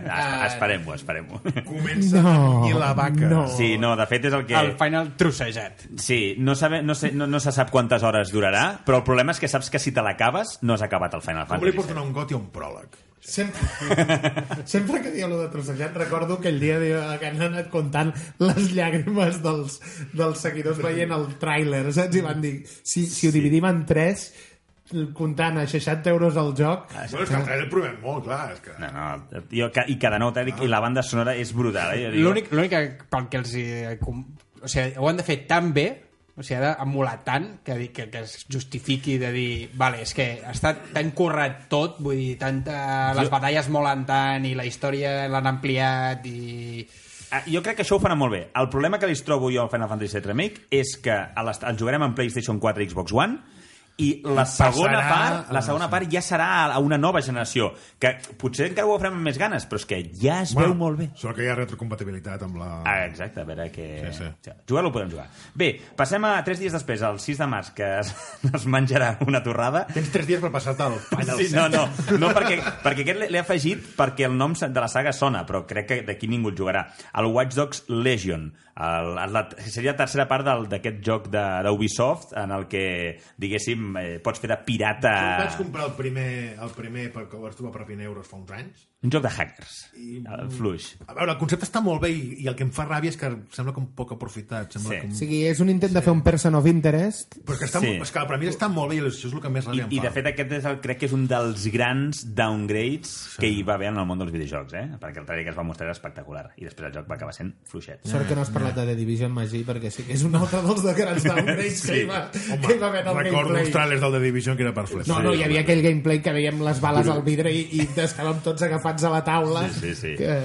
S3: Ah, esperem-ho, esperem-ho.
S1: Comença
S2: No,
S1: i la vaca.
S2: no.
S3: Sí, no, de fet és el que...
S4: El final trossejat.
S3: Sí, no, sabe, no, sé, no, no se sap quantes hores durarà, però el problema és que saps que si te l'acabes no has acabat el Final
S1: Com li
S3: Fantasy
S1: pots
S3: VII.
S1: donar un got i un pròleg?
S2: Sempre, sempre que diu allò de trossejat recordo aquell dia de- que han anat comptant les llàgrimes dels, dels seguidors veient el tràiler, saps? I van dir, si, si ho dividim en tres, comptant a 60 euros el joc...
S3: Ah.
S1: Bueno, és que el trailer provem molt, clar. És que...
S3: No, no, jo, ca- i cada nou tècnic i la banda sonora és brutal. Eh? Jo dic-
S4: L'únic l'únic que pel que els... hi, eh, com- O sigui, ho han de fer tan bé, o sigui, ha d'emular tant que, di- que, que es justifiqui de dir vale, és que està tan currat tot vull dir, tanta, les batalles molen tant i la història l'han ampliat i...
S3: Ah, jo crec que això ho farà molt bé. El problema que li trobo jo al Final Fantasy VII Remake és que a les- el jugarem en PlayStation 4 i Xbox One i la segona part, la segona part ja serà a una nova generació, que potser encara ho farem amb més ganes, però és que ja es veu molt bé.
S1: Sort que hi ha retrocompatibilitat amb la...
S3: Ah, exacte, a veure que...
S1: Sí, sí.
S3: Jugar-lo podem jugar. Bé, passem a tres dies després, el 6 de març, que es, es menjarà una torrada.
S1: Tens tres dies per passar-te el Final
S3: Sí, no, no, no perquè, perquè aquest l'he- l'he afegit perquè el nom de la saga sona, però crec que d'aquí ningú el jugarà. El Watch Dogs Legion. El, la, seria la tercera part del- d'aquest joc de- d'Ubisoft en el que, diguéssim, eh, pots fer de
S1: Jo
S3: pirata...
S1: vaig comprar el primer, el primer per que ho vaig trobar per 20 euros fa uns anys.
S3: Un joc de hackers. El fluix.
S1: A veure, el concepte està molt bé i, i el que em fa ràbia és que sembla com poc aprofitat. Sembla
S3: Sí.
S1: com...
S2: O sigui, és un intent de fer un person of interest
S1: Però és que, està
S3: Sí.
S1: molt, és que la premissa està molt bé i això és el que més
S3: I,
S1: ràbia
S3: I,
S1: em fa.
S3: de fet, aquest és el, crec que és un dels grans downgrades sí. que hi va haver en el món dels videojocs, eh? Perquè el trailer que es va mostrar era espectacular i després el joc va acabar sent fluixet.
S2: Sort que no has parlat de The Division, Magí, perquè sí que és un altre dels de grans downgrades que, hi va,
S1: Home,
S2: que hi va haver en el
S1: recordo els
S2: gameplay.
S1: trailers del The Division que era per flex.
S2: No, no, hi havia aquell gameplay que veiem les bales al vidre i, i estàvem tots agafats a la taula.
S3: Sí, sí, sí.
S2: Que...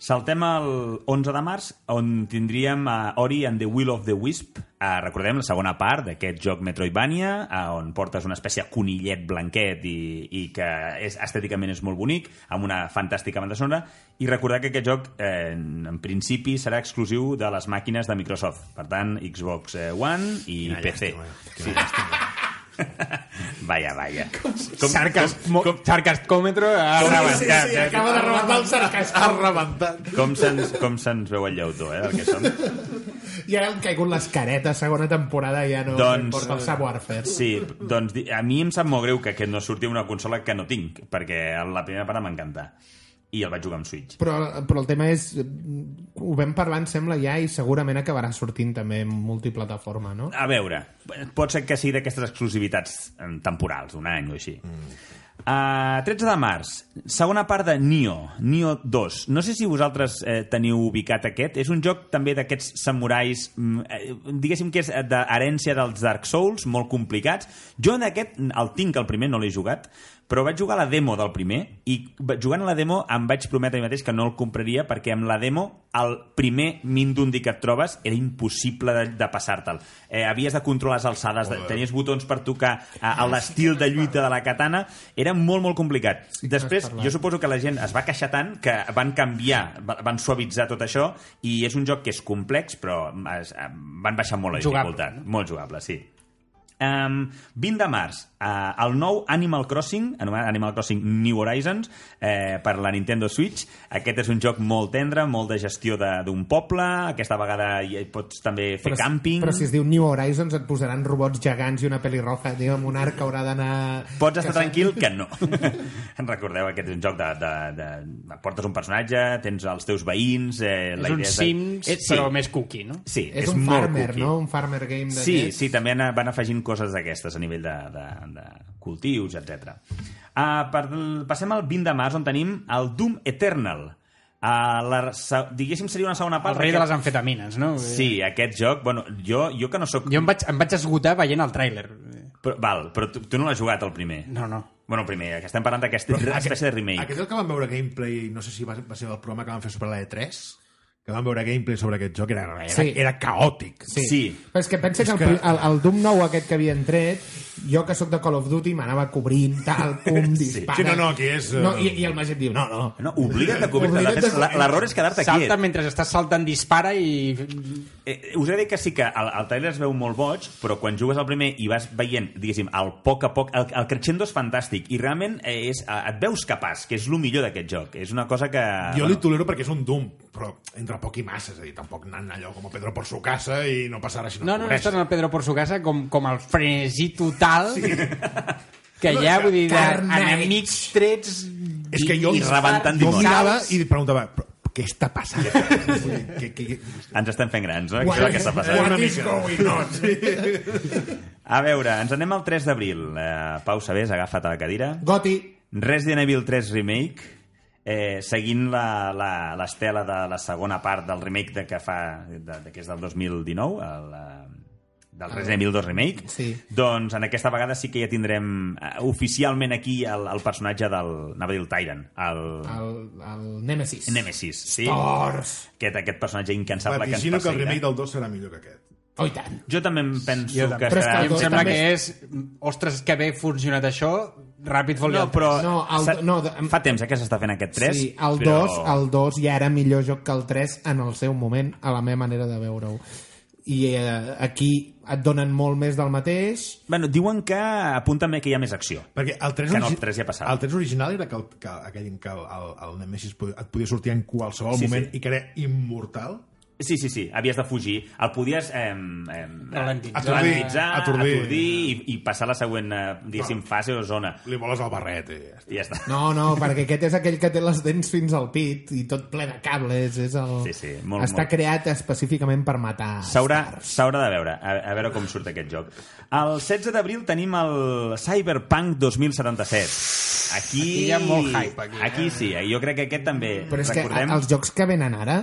S3: Saltem al 11 de març, on tindríem a Ori and the Will of the Wisp. Uh, recordem la segona part d'aquest joc Metroidvania, uh, on portes una espècie de conillet blanquet i, i que és, estèticament és molt bonic, amb una fantàstica banda sonora. I recordar que aquest joc, eh, en, en principi, serà exclusiu de les màquines de Microsoft. Per tant, Xbox eh, One i
S1: Quina
S3: PC.
S1: llàstima, quina
S3: Sí. Vaya, vaya. Com,
S4: Sarcas, com, com, sarcascòmetro ha
S2: Sí,
S4: rebentat.
S2: sí, acaba de rebentar el sarcasme.
S1: rebentat.
S3: com se'ns com se'ns veu el llautó, eh, el que som.
S2: I ara han caigut les caretes, segona temporada, ja no
S3: Doncs-
S2: doncs... importa el Subwarfare.
S3: Sí, doncs di- a mi em sap molt greu que aquest no surti a una consola que no tinc, perquè la primera part m'encanta. I el vaig jugar amb Switch.
S2: Però, però el tema és... mm, Ho vam parlar, em sembla, ja, i segurament acabarà sortint també en multiplataforma, no?
S3: A veure, pot ser que sigui d'aquestes exclusivitats eh, temporals, d'un any o així. Mm. Uh, 13 de març, segona part de Nio, Nio 2. No sé si vosaltres eh, teniu ubicat aquest. És un joc també d'aquests samurais, mm, eh, diguéssim que és eh, d'herència dels Dark Souls, molt complicats. Jo en aquest el tinc, el primer, no l'he jugat, però vaig jugar a la demo del primer i va- jugant a la demo em vaig prometre a mi mateix que no el compraria perquè amb la demo el primer mindundi que et trobes era impossible de, de passar-te'l. Eh, havies de controlar les alçades, de, tenies botons per tocar eh, l'estil de lluita de la katana. Era era molt, molt complicat.
S2: Sí que
S3: Després,
S2: n'has parlat.
S3: jo suposo que la gent es va queixar tant que van canviar, va- van suavitzar tot això i és un joc que és complex, però es, eh, van baixar molt la
S4: Jugable,
S3: dificultat. Molt jugable, sí. Um, 20 de març, uh, el nou Animal Crossing, anomenat Animal Crossing New Horizons, eh, per la Nintendo Switch. Aquest és un joc molt tendre, molt de gestió de- d'un poble, aquesta vegada hi pots també fer
S2: Però si-
S3: càmping.
S2: Però si es diu New Horizons et posaran robots gegants i una pelirroja, tio, amb un arc haurà d'anar...
S3: Pots estar tranquil que no. en recordeu, aquest és un joc de, de, de... Portes un personatge, tens els teus veïns... Eh,
S4: És un
S3: és de-
S4: Sims,
S3: Eh,
S4: però més cookie, no?
S3: Sí,
S2: És,
S3: és,
S2: un
S3: molt
S2: farmer,
S3: cookie.
S2: no? Un farmer game de
S3: Sí,
S2: llest.
S3: sí, també ana- van afegint coses d'aquestes a nivell de, de, de cultius, etc. Uh, per, passem al 20 de març, on tenim el Doom Eternal. Uh, la, se- diguéssim, seria una segona
S4: El
S3: part...
S4: rei de les
S3: d'aquest-
S4: amfetamines, no?
S3: Sí, aquest joc... Bueno, jo, jo que no sóc...
S4: Jo em vaig, em vaig esgotar veient el tràiler.
S3: Però, val, però tu, tu no l'has jugat, el primer.
S4: No, no.
S3: Bueno, el primer, que estem parlant d'aquesta espècie de remake.
S1: Aquest és el que vam veure gameplay, no sé si va, va ser el programa que vam fer sobre la E3, que vam veure gameplay sobre aquest joc, era, era,
S2: Sí.
S1: sí. era caòtic.
S2: Sí.
S3: Sí.
S2: Però és que pensa que, el, pri- el, el Doom nou aquest que havien tret, jo que sóc de Call of Duty m'anava cobrint, tal, pum, dispara.
S1: Sí, no, no, aquí és, eh,
S2: No, i, I el Magí et diu, no, no.
S3: No, oblida't de cobrir-te.
S2: Oblida't
S3: De fet,
S2: de-
S3: la- L'error és quedar-te
S4: Salta
S3: quiet.
S4: mentre estàs saltant, dispara i...
S3: Eh, us he de dir que sí que el, el trailer es veu molt boig, però quan jugues al primer i vas veient, diguéssim, al poc a poc, el, el crescendo és fantàstic i realment eh, és, eh, et veus capaç, que és el millor d'aquest joc. És una cosa que...
S1: Jo li tolero perquè és un Doom, però entre poc i massa, és a dir, tampoc anant allò com a Pedro por su casa i no passarà si no,
S4: No, no, no
S1: cobreix.
S4: estàs en el Pedro por su casa com, com el frenesí total sí. que hi ha, vull dir, de-
S2: Carnage.
S4: enemics trets
S1: És que jo,
S3: I rebentant
S1: jo
S3: dimonis.
S1: mirava i preguntava, però què està passant? Vull dir, que, que,
S3: Ens estem fent grans, no? Això és el que està passant.
S1: What is going on?
S3: A veure, ens anem al 3 d'abril. Eh, Pau Sabés, agafa't a la cadira.
S2: Goti,
S3: Resident Evil 3 Remake, eh, seguint la- la- l'estela de la segona part del remake de que fa, de, de, que és del 2019, el, eh, del Resident Evil 2 Remake,
S2: Ah. Sí.
S3: doncs en aquesta vegada sí que ja tindrem eh, oficialment aquí el, el personatge del, anava a dir el Tyrant, el, el...
S2: el, el Nemesis.
S3: Nemesis, sí?
S2: Tors.
S3: Aquest, aquest personatge incansable que ens
S1: Vaticino que el remake
S3: perseguirà.
S1: del 2 serà millor que aquest.
S2: Oh, i tant.
S3: Jo també em penso
S4: Jo
S3: que
S4: també.
S2: Però és
S3: serà...
S2: que
S4: em
S2: el dos
S4: sembla
S2: també-
S4: que és... Ostres, que bé funcionat això, ràpid fot-li
S3: No,
S4: el
S3: però
S2: No, el-
S3: s'ha-
S2: no, de-
S3: fa temps eh, que s'està fent aquest 3.
S2: sí, el 2
S3: però...
S2: el 2 ja era millor joc que el 3 en el seu moment, a la meva manera de veure-ho. I eh, aquí et donen molt més del mateix.
S3: Bueno, diuen que apunta'm que hi ha més acció.
S1: Perquè el 3,
S3: Que no, el tres ja passava.
S1: el 3 original era que, el, que aquell en què el, el, el Nemesis podia- et podia sortir en qualsevol sí,
S3: Sí,
S1: moment
S3: sí.
S1: sí. i que era immortal.
S3: Sí, sí, sí, havies de fugir. El podies eh, eh,
S4: Ralentitzar.
S3: atorditzar, atordir,
S1: Atordir.
S3: i, i passar a la següent, eh, diguéssim, fase o zona.
S1: Li voles el barret i ja està.
S3: I ja està.
S2: No, no, perquè aquest és aquell que té les dents fins al pit i tot ple de cables. És el...
S3: Sí, sí, molt,
S2: Està
S3: molt.
S2: creat específicament per matar.
S3: S'haurà s'haurà de veure, a, a veure com surt aquest joc. El 16 d'abril tenim el Cyberpunk 2077. Aquí...
S4: Aquí hi ha molt hype, aquí, eh?
S3: Aquí sí, eh? jo crec que aquest també,
S2: Però és
S3: recordem...
S2: que els jocs que venen ara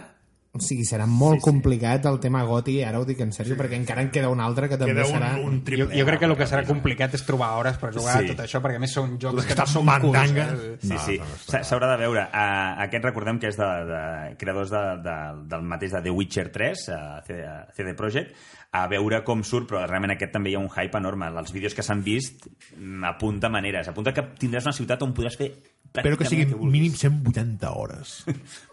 S2: o sigui, serà molt sí, complicat el tema goti, ara ho dic en sèrio, sí. perquè encara en queda un altre que també
S1: Queda un,
S2: serà...
S1: un
S4: Jo,
S1: triple.
S4: jo crec que el que serà complicat és trobar hores per jugar
S3: Sí.
S4: a tot això, perquè a més són
S1: Tu
S4: jocs que
S1: estàs
S4: no són
S1: sumant
S4: curts.
S1: tanga.
S4: eh?
S3: Sí,
S1: No,
S3: sí,
S1: no, no està
S3: S'ha- s'haurà de veure. Uh, aquest recordem que és de, de creadors de, de, del mateix de The Witcher 3, uh, CD, CD Projekt, a veure com surt, però realment aquest també hi ha un hype enorme. Els vídeos que s'han vist mm, apunta maneres, apunta que tindràs una ciutat on podràs fer
S1: Però que
S3: pràcticament
S1: siguin
S3: el vulguis.
S1: mínim 180 hores.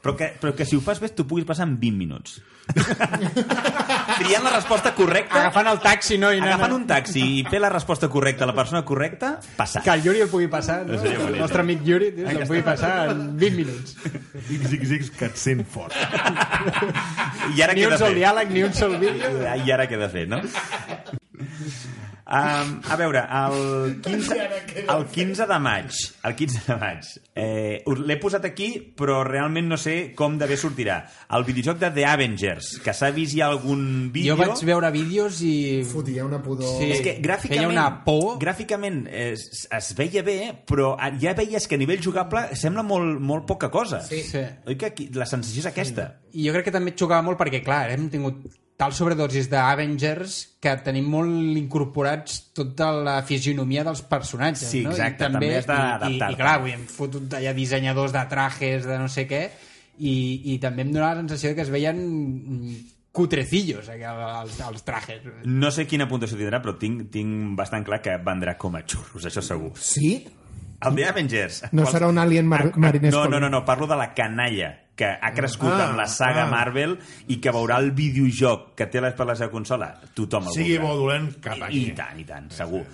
S3: Però que, però que si ho fas bé t'ho puguis passar en 20 minuts. Triant la resposta correcta,
S4: Agafant el taxi, no? I anant-
S3: agafant un taxi i fer la resposta correcta a la persona correcta, passar.
S4: Que el Yuri el pugui passar, no?
S3: Seria
S4: El
S3: bonic.
S4: nostre amic Yuri, tio,
S3: Vinga,
S4: el pugui
S3: està.
S4: passar en 20 minuts.
S1: XXX que et sent fort.
S3: I ara
S4: Ni
S3: què he
S4: un
S3: de
S4: sol
S3: fer?
S4: diàleg, ni un sol vídeo.
S3: I ara què he de fer, no? Um, a veure, el 15, el 15 de maig, el 15 de maig, eh, us l'he posat aquí, però realment no sé com de bé sortirà. El videojoc de The Avengers, que s'ha vist ja algun vídeo...
S4: Jo vaig veure vídeos i...
S2: Fotia una pudor...
S4: Sí.
S3: És que gràficament,
S4: Feia una por.
S3: gràficament es, es veia bé, però ja veies que a nivell jugable sembla molt, molt poca cosa.
S4: Sí.
S3: Oi que aquí, la sensació és aquesta?
S4: I jo crec que també et xocava molt perquè, clar, hem tingut tal sobredosis d'Avengers que tenim molt incorporats tota la fisionomia dels personatges.
S3: Sí, exacte,
S4: no? I també,
S3: també has
S4: i, i,
S3: d'adaptar-te.
S4: I clar, avui hem fotut allà dissenyadors de trajes, de no sé què, i, i també em donava la sensació que es veien mm, cutrecillos eh, els, els trajes.
S3: No sé quina puntuació tindrà, però tinc, tinc bastant clar que vendrà com a xurros, això segur.
S2: Sí?
S3: El The Avengers.
S2: No serà un alien mar- mariner
S3: Ah, No, no,
S2: escolar.
S3: no, no, parlo de la canalla que ha crescut
S1: Ah,
S3: amb la saga
S1: ah.
S3: Marvel i que veurà el videojoc que té les per la seva consola. Tothom el
S1: Sigui
S3: voldrà.
S1: bo o dolent, cap aquí.
S3: I, I tant, i tant, segur.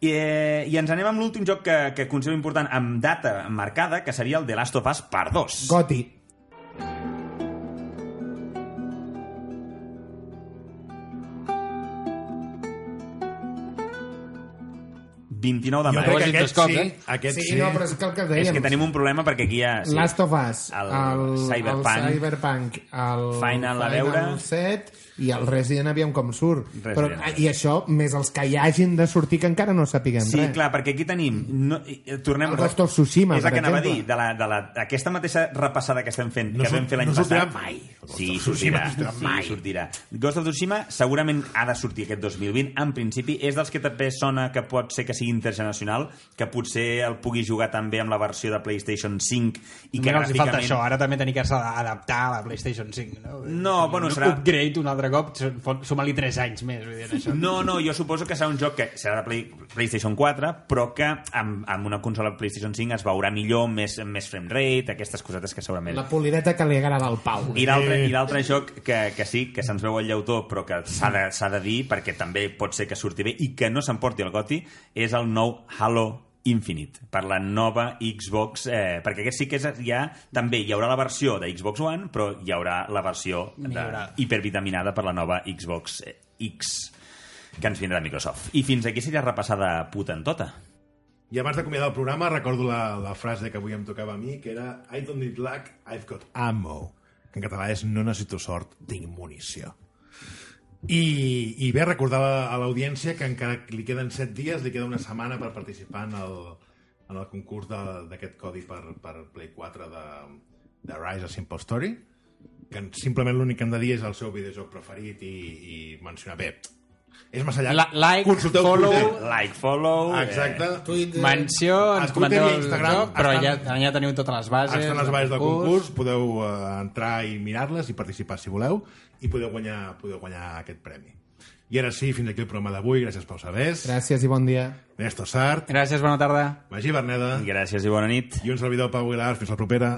S3: I, eh, I ens anem amb l'últim joc que, que considero important amb data marcada, que seria el The Last of Us Part 2.
S2: Goti.
S1: Jo
S3: 29 de
S1: crec
S3: maig.
S1: que
S4: Washington
S1: aquest
S4: Scott,
S1: sí,
S4: eh?
S1: aquest
S2: sí,
S1: sí.
S2: no, però és que el que dèiem...
S3: És que tenim un problema perquè aquí hi ha...
S2: Sí. Last of Us,
S3: El
S2: el, el,
S3: Cyberpunk.
S2: el Cyberpunk, el
S3: Final a veure.
S2: 7 i el Resident aviam com surt.
S3: Resident.
S2: Però, ah, I això, més els que hi hagin de sortir que encara no sapiguem
S3: Sí,
S2: res.
S3: clar, perquè aquí tenim... No, i- i tornem...
S2: El Ghost of Tsushima,
S3: És el
S2: per
S3: que anava a dir,
S2: exemple.
S3: de la, de la, aquesta mateixa repassada que estem fent,
S1: No
S3: que vam
S1: surt-
S3: fer l'any
S1: no
S3: passat...
S1: sortirà mai. El Ghost
S3: Sí,
S1: of Tsushima
S3: sortirà.
S1: no sortirà
S3: Sí,
S1: mai.
S3: sortirà. Ghost of Tsushima segurament ha de sortir aquest 2020. En principi, és dels que també sona que pot ser que sigui intergeneracional, que potser el pugui jugar també amb la versió de PlayStation 5 i que
S4: Mira, els hi falta
S3: gràficament...
S4: això,
S1: eh?
S4: ara també tenir que adaptar a la PlayStation 5. No,
S3: No, bueno,
S4: un
S3: serà-
S4: Upgrade un altre cop, fot- suma-li 3 anys més. Vull dir, en això.
S3: No, no, jo suposo que serà un joc que serà de Play, PlayStation 4, però que amb, amb una consola PlayStation 5 es veurà millor, més, més frame rate, aquestes cosetes que segurament...
S2: La polireta que li agrada al Pau.
S3: I l'altre i l'altre joc que, que sí, que se'ns veu el llautó, però que s'ha de, s'ha de dir, perquè també pot ser que surti bé i que no s'emporti el goti, és el nou Halo Infinite, per la nova Xbox, eh, perquè aquest sí que és, ja també hi haurà la versió de Xbox One, però hi haurà la versió de,
S4: Millorada.
S3: hipervitaminada per la nova Xbox eh, X que ens vindrà de Microsoft. I fins aquí seria repassada tota. potentota.
S1: I abans d'acomiadar el programa recordo la, la frase que avui em tocava a mi, que era I don't need luck, I've got ammo. Que en català és no necessito sort, tinc munició. I, i bé, recordar a- a l'audiència que encara li queden 7 dies, li queda una setmana per participar en el, en el concurs de- d'aquest codi per, per Play 4 de, de Rise a Simple Story que en- simplement l'únic que hem de dir és el seu videojoc preferit i, i mencionar bé, és massa llarg
S4: La- like,
S1: Consulteu
S4: follow,
S1: Twitter.
S3: Like, follow...
S1: exacte
S2: Twitter.
S4: Menció, ens
S1: A Twitter i
S4: comenteu
S1: a
S4: el
S1: Instagram
S4: joc, però ja,
S1: estan-
S4: ja teniu totes les bases.
S1: Estan les bases del concurs, podeu eh, entrar i mirar-les i participar si voleu i podeu guanyar, podeu guanyar aquest premi. I ara sí, fins aquí el programa d'avui. Gràcies, Pau Sabés,
S2: Gràcies i bon dia.
S1: Néstor Sart,
S4: Gràcies, bona tarda.
S1: Magí Berneda
S3: Eh? Gràcies i bona nit.
S1: i un servidor, Pau Aguilar. Fins la propera.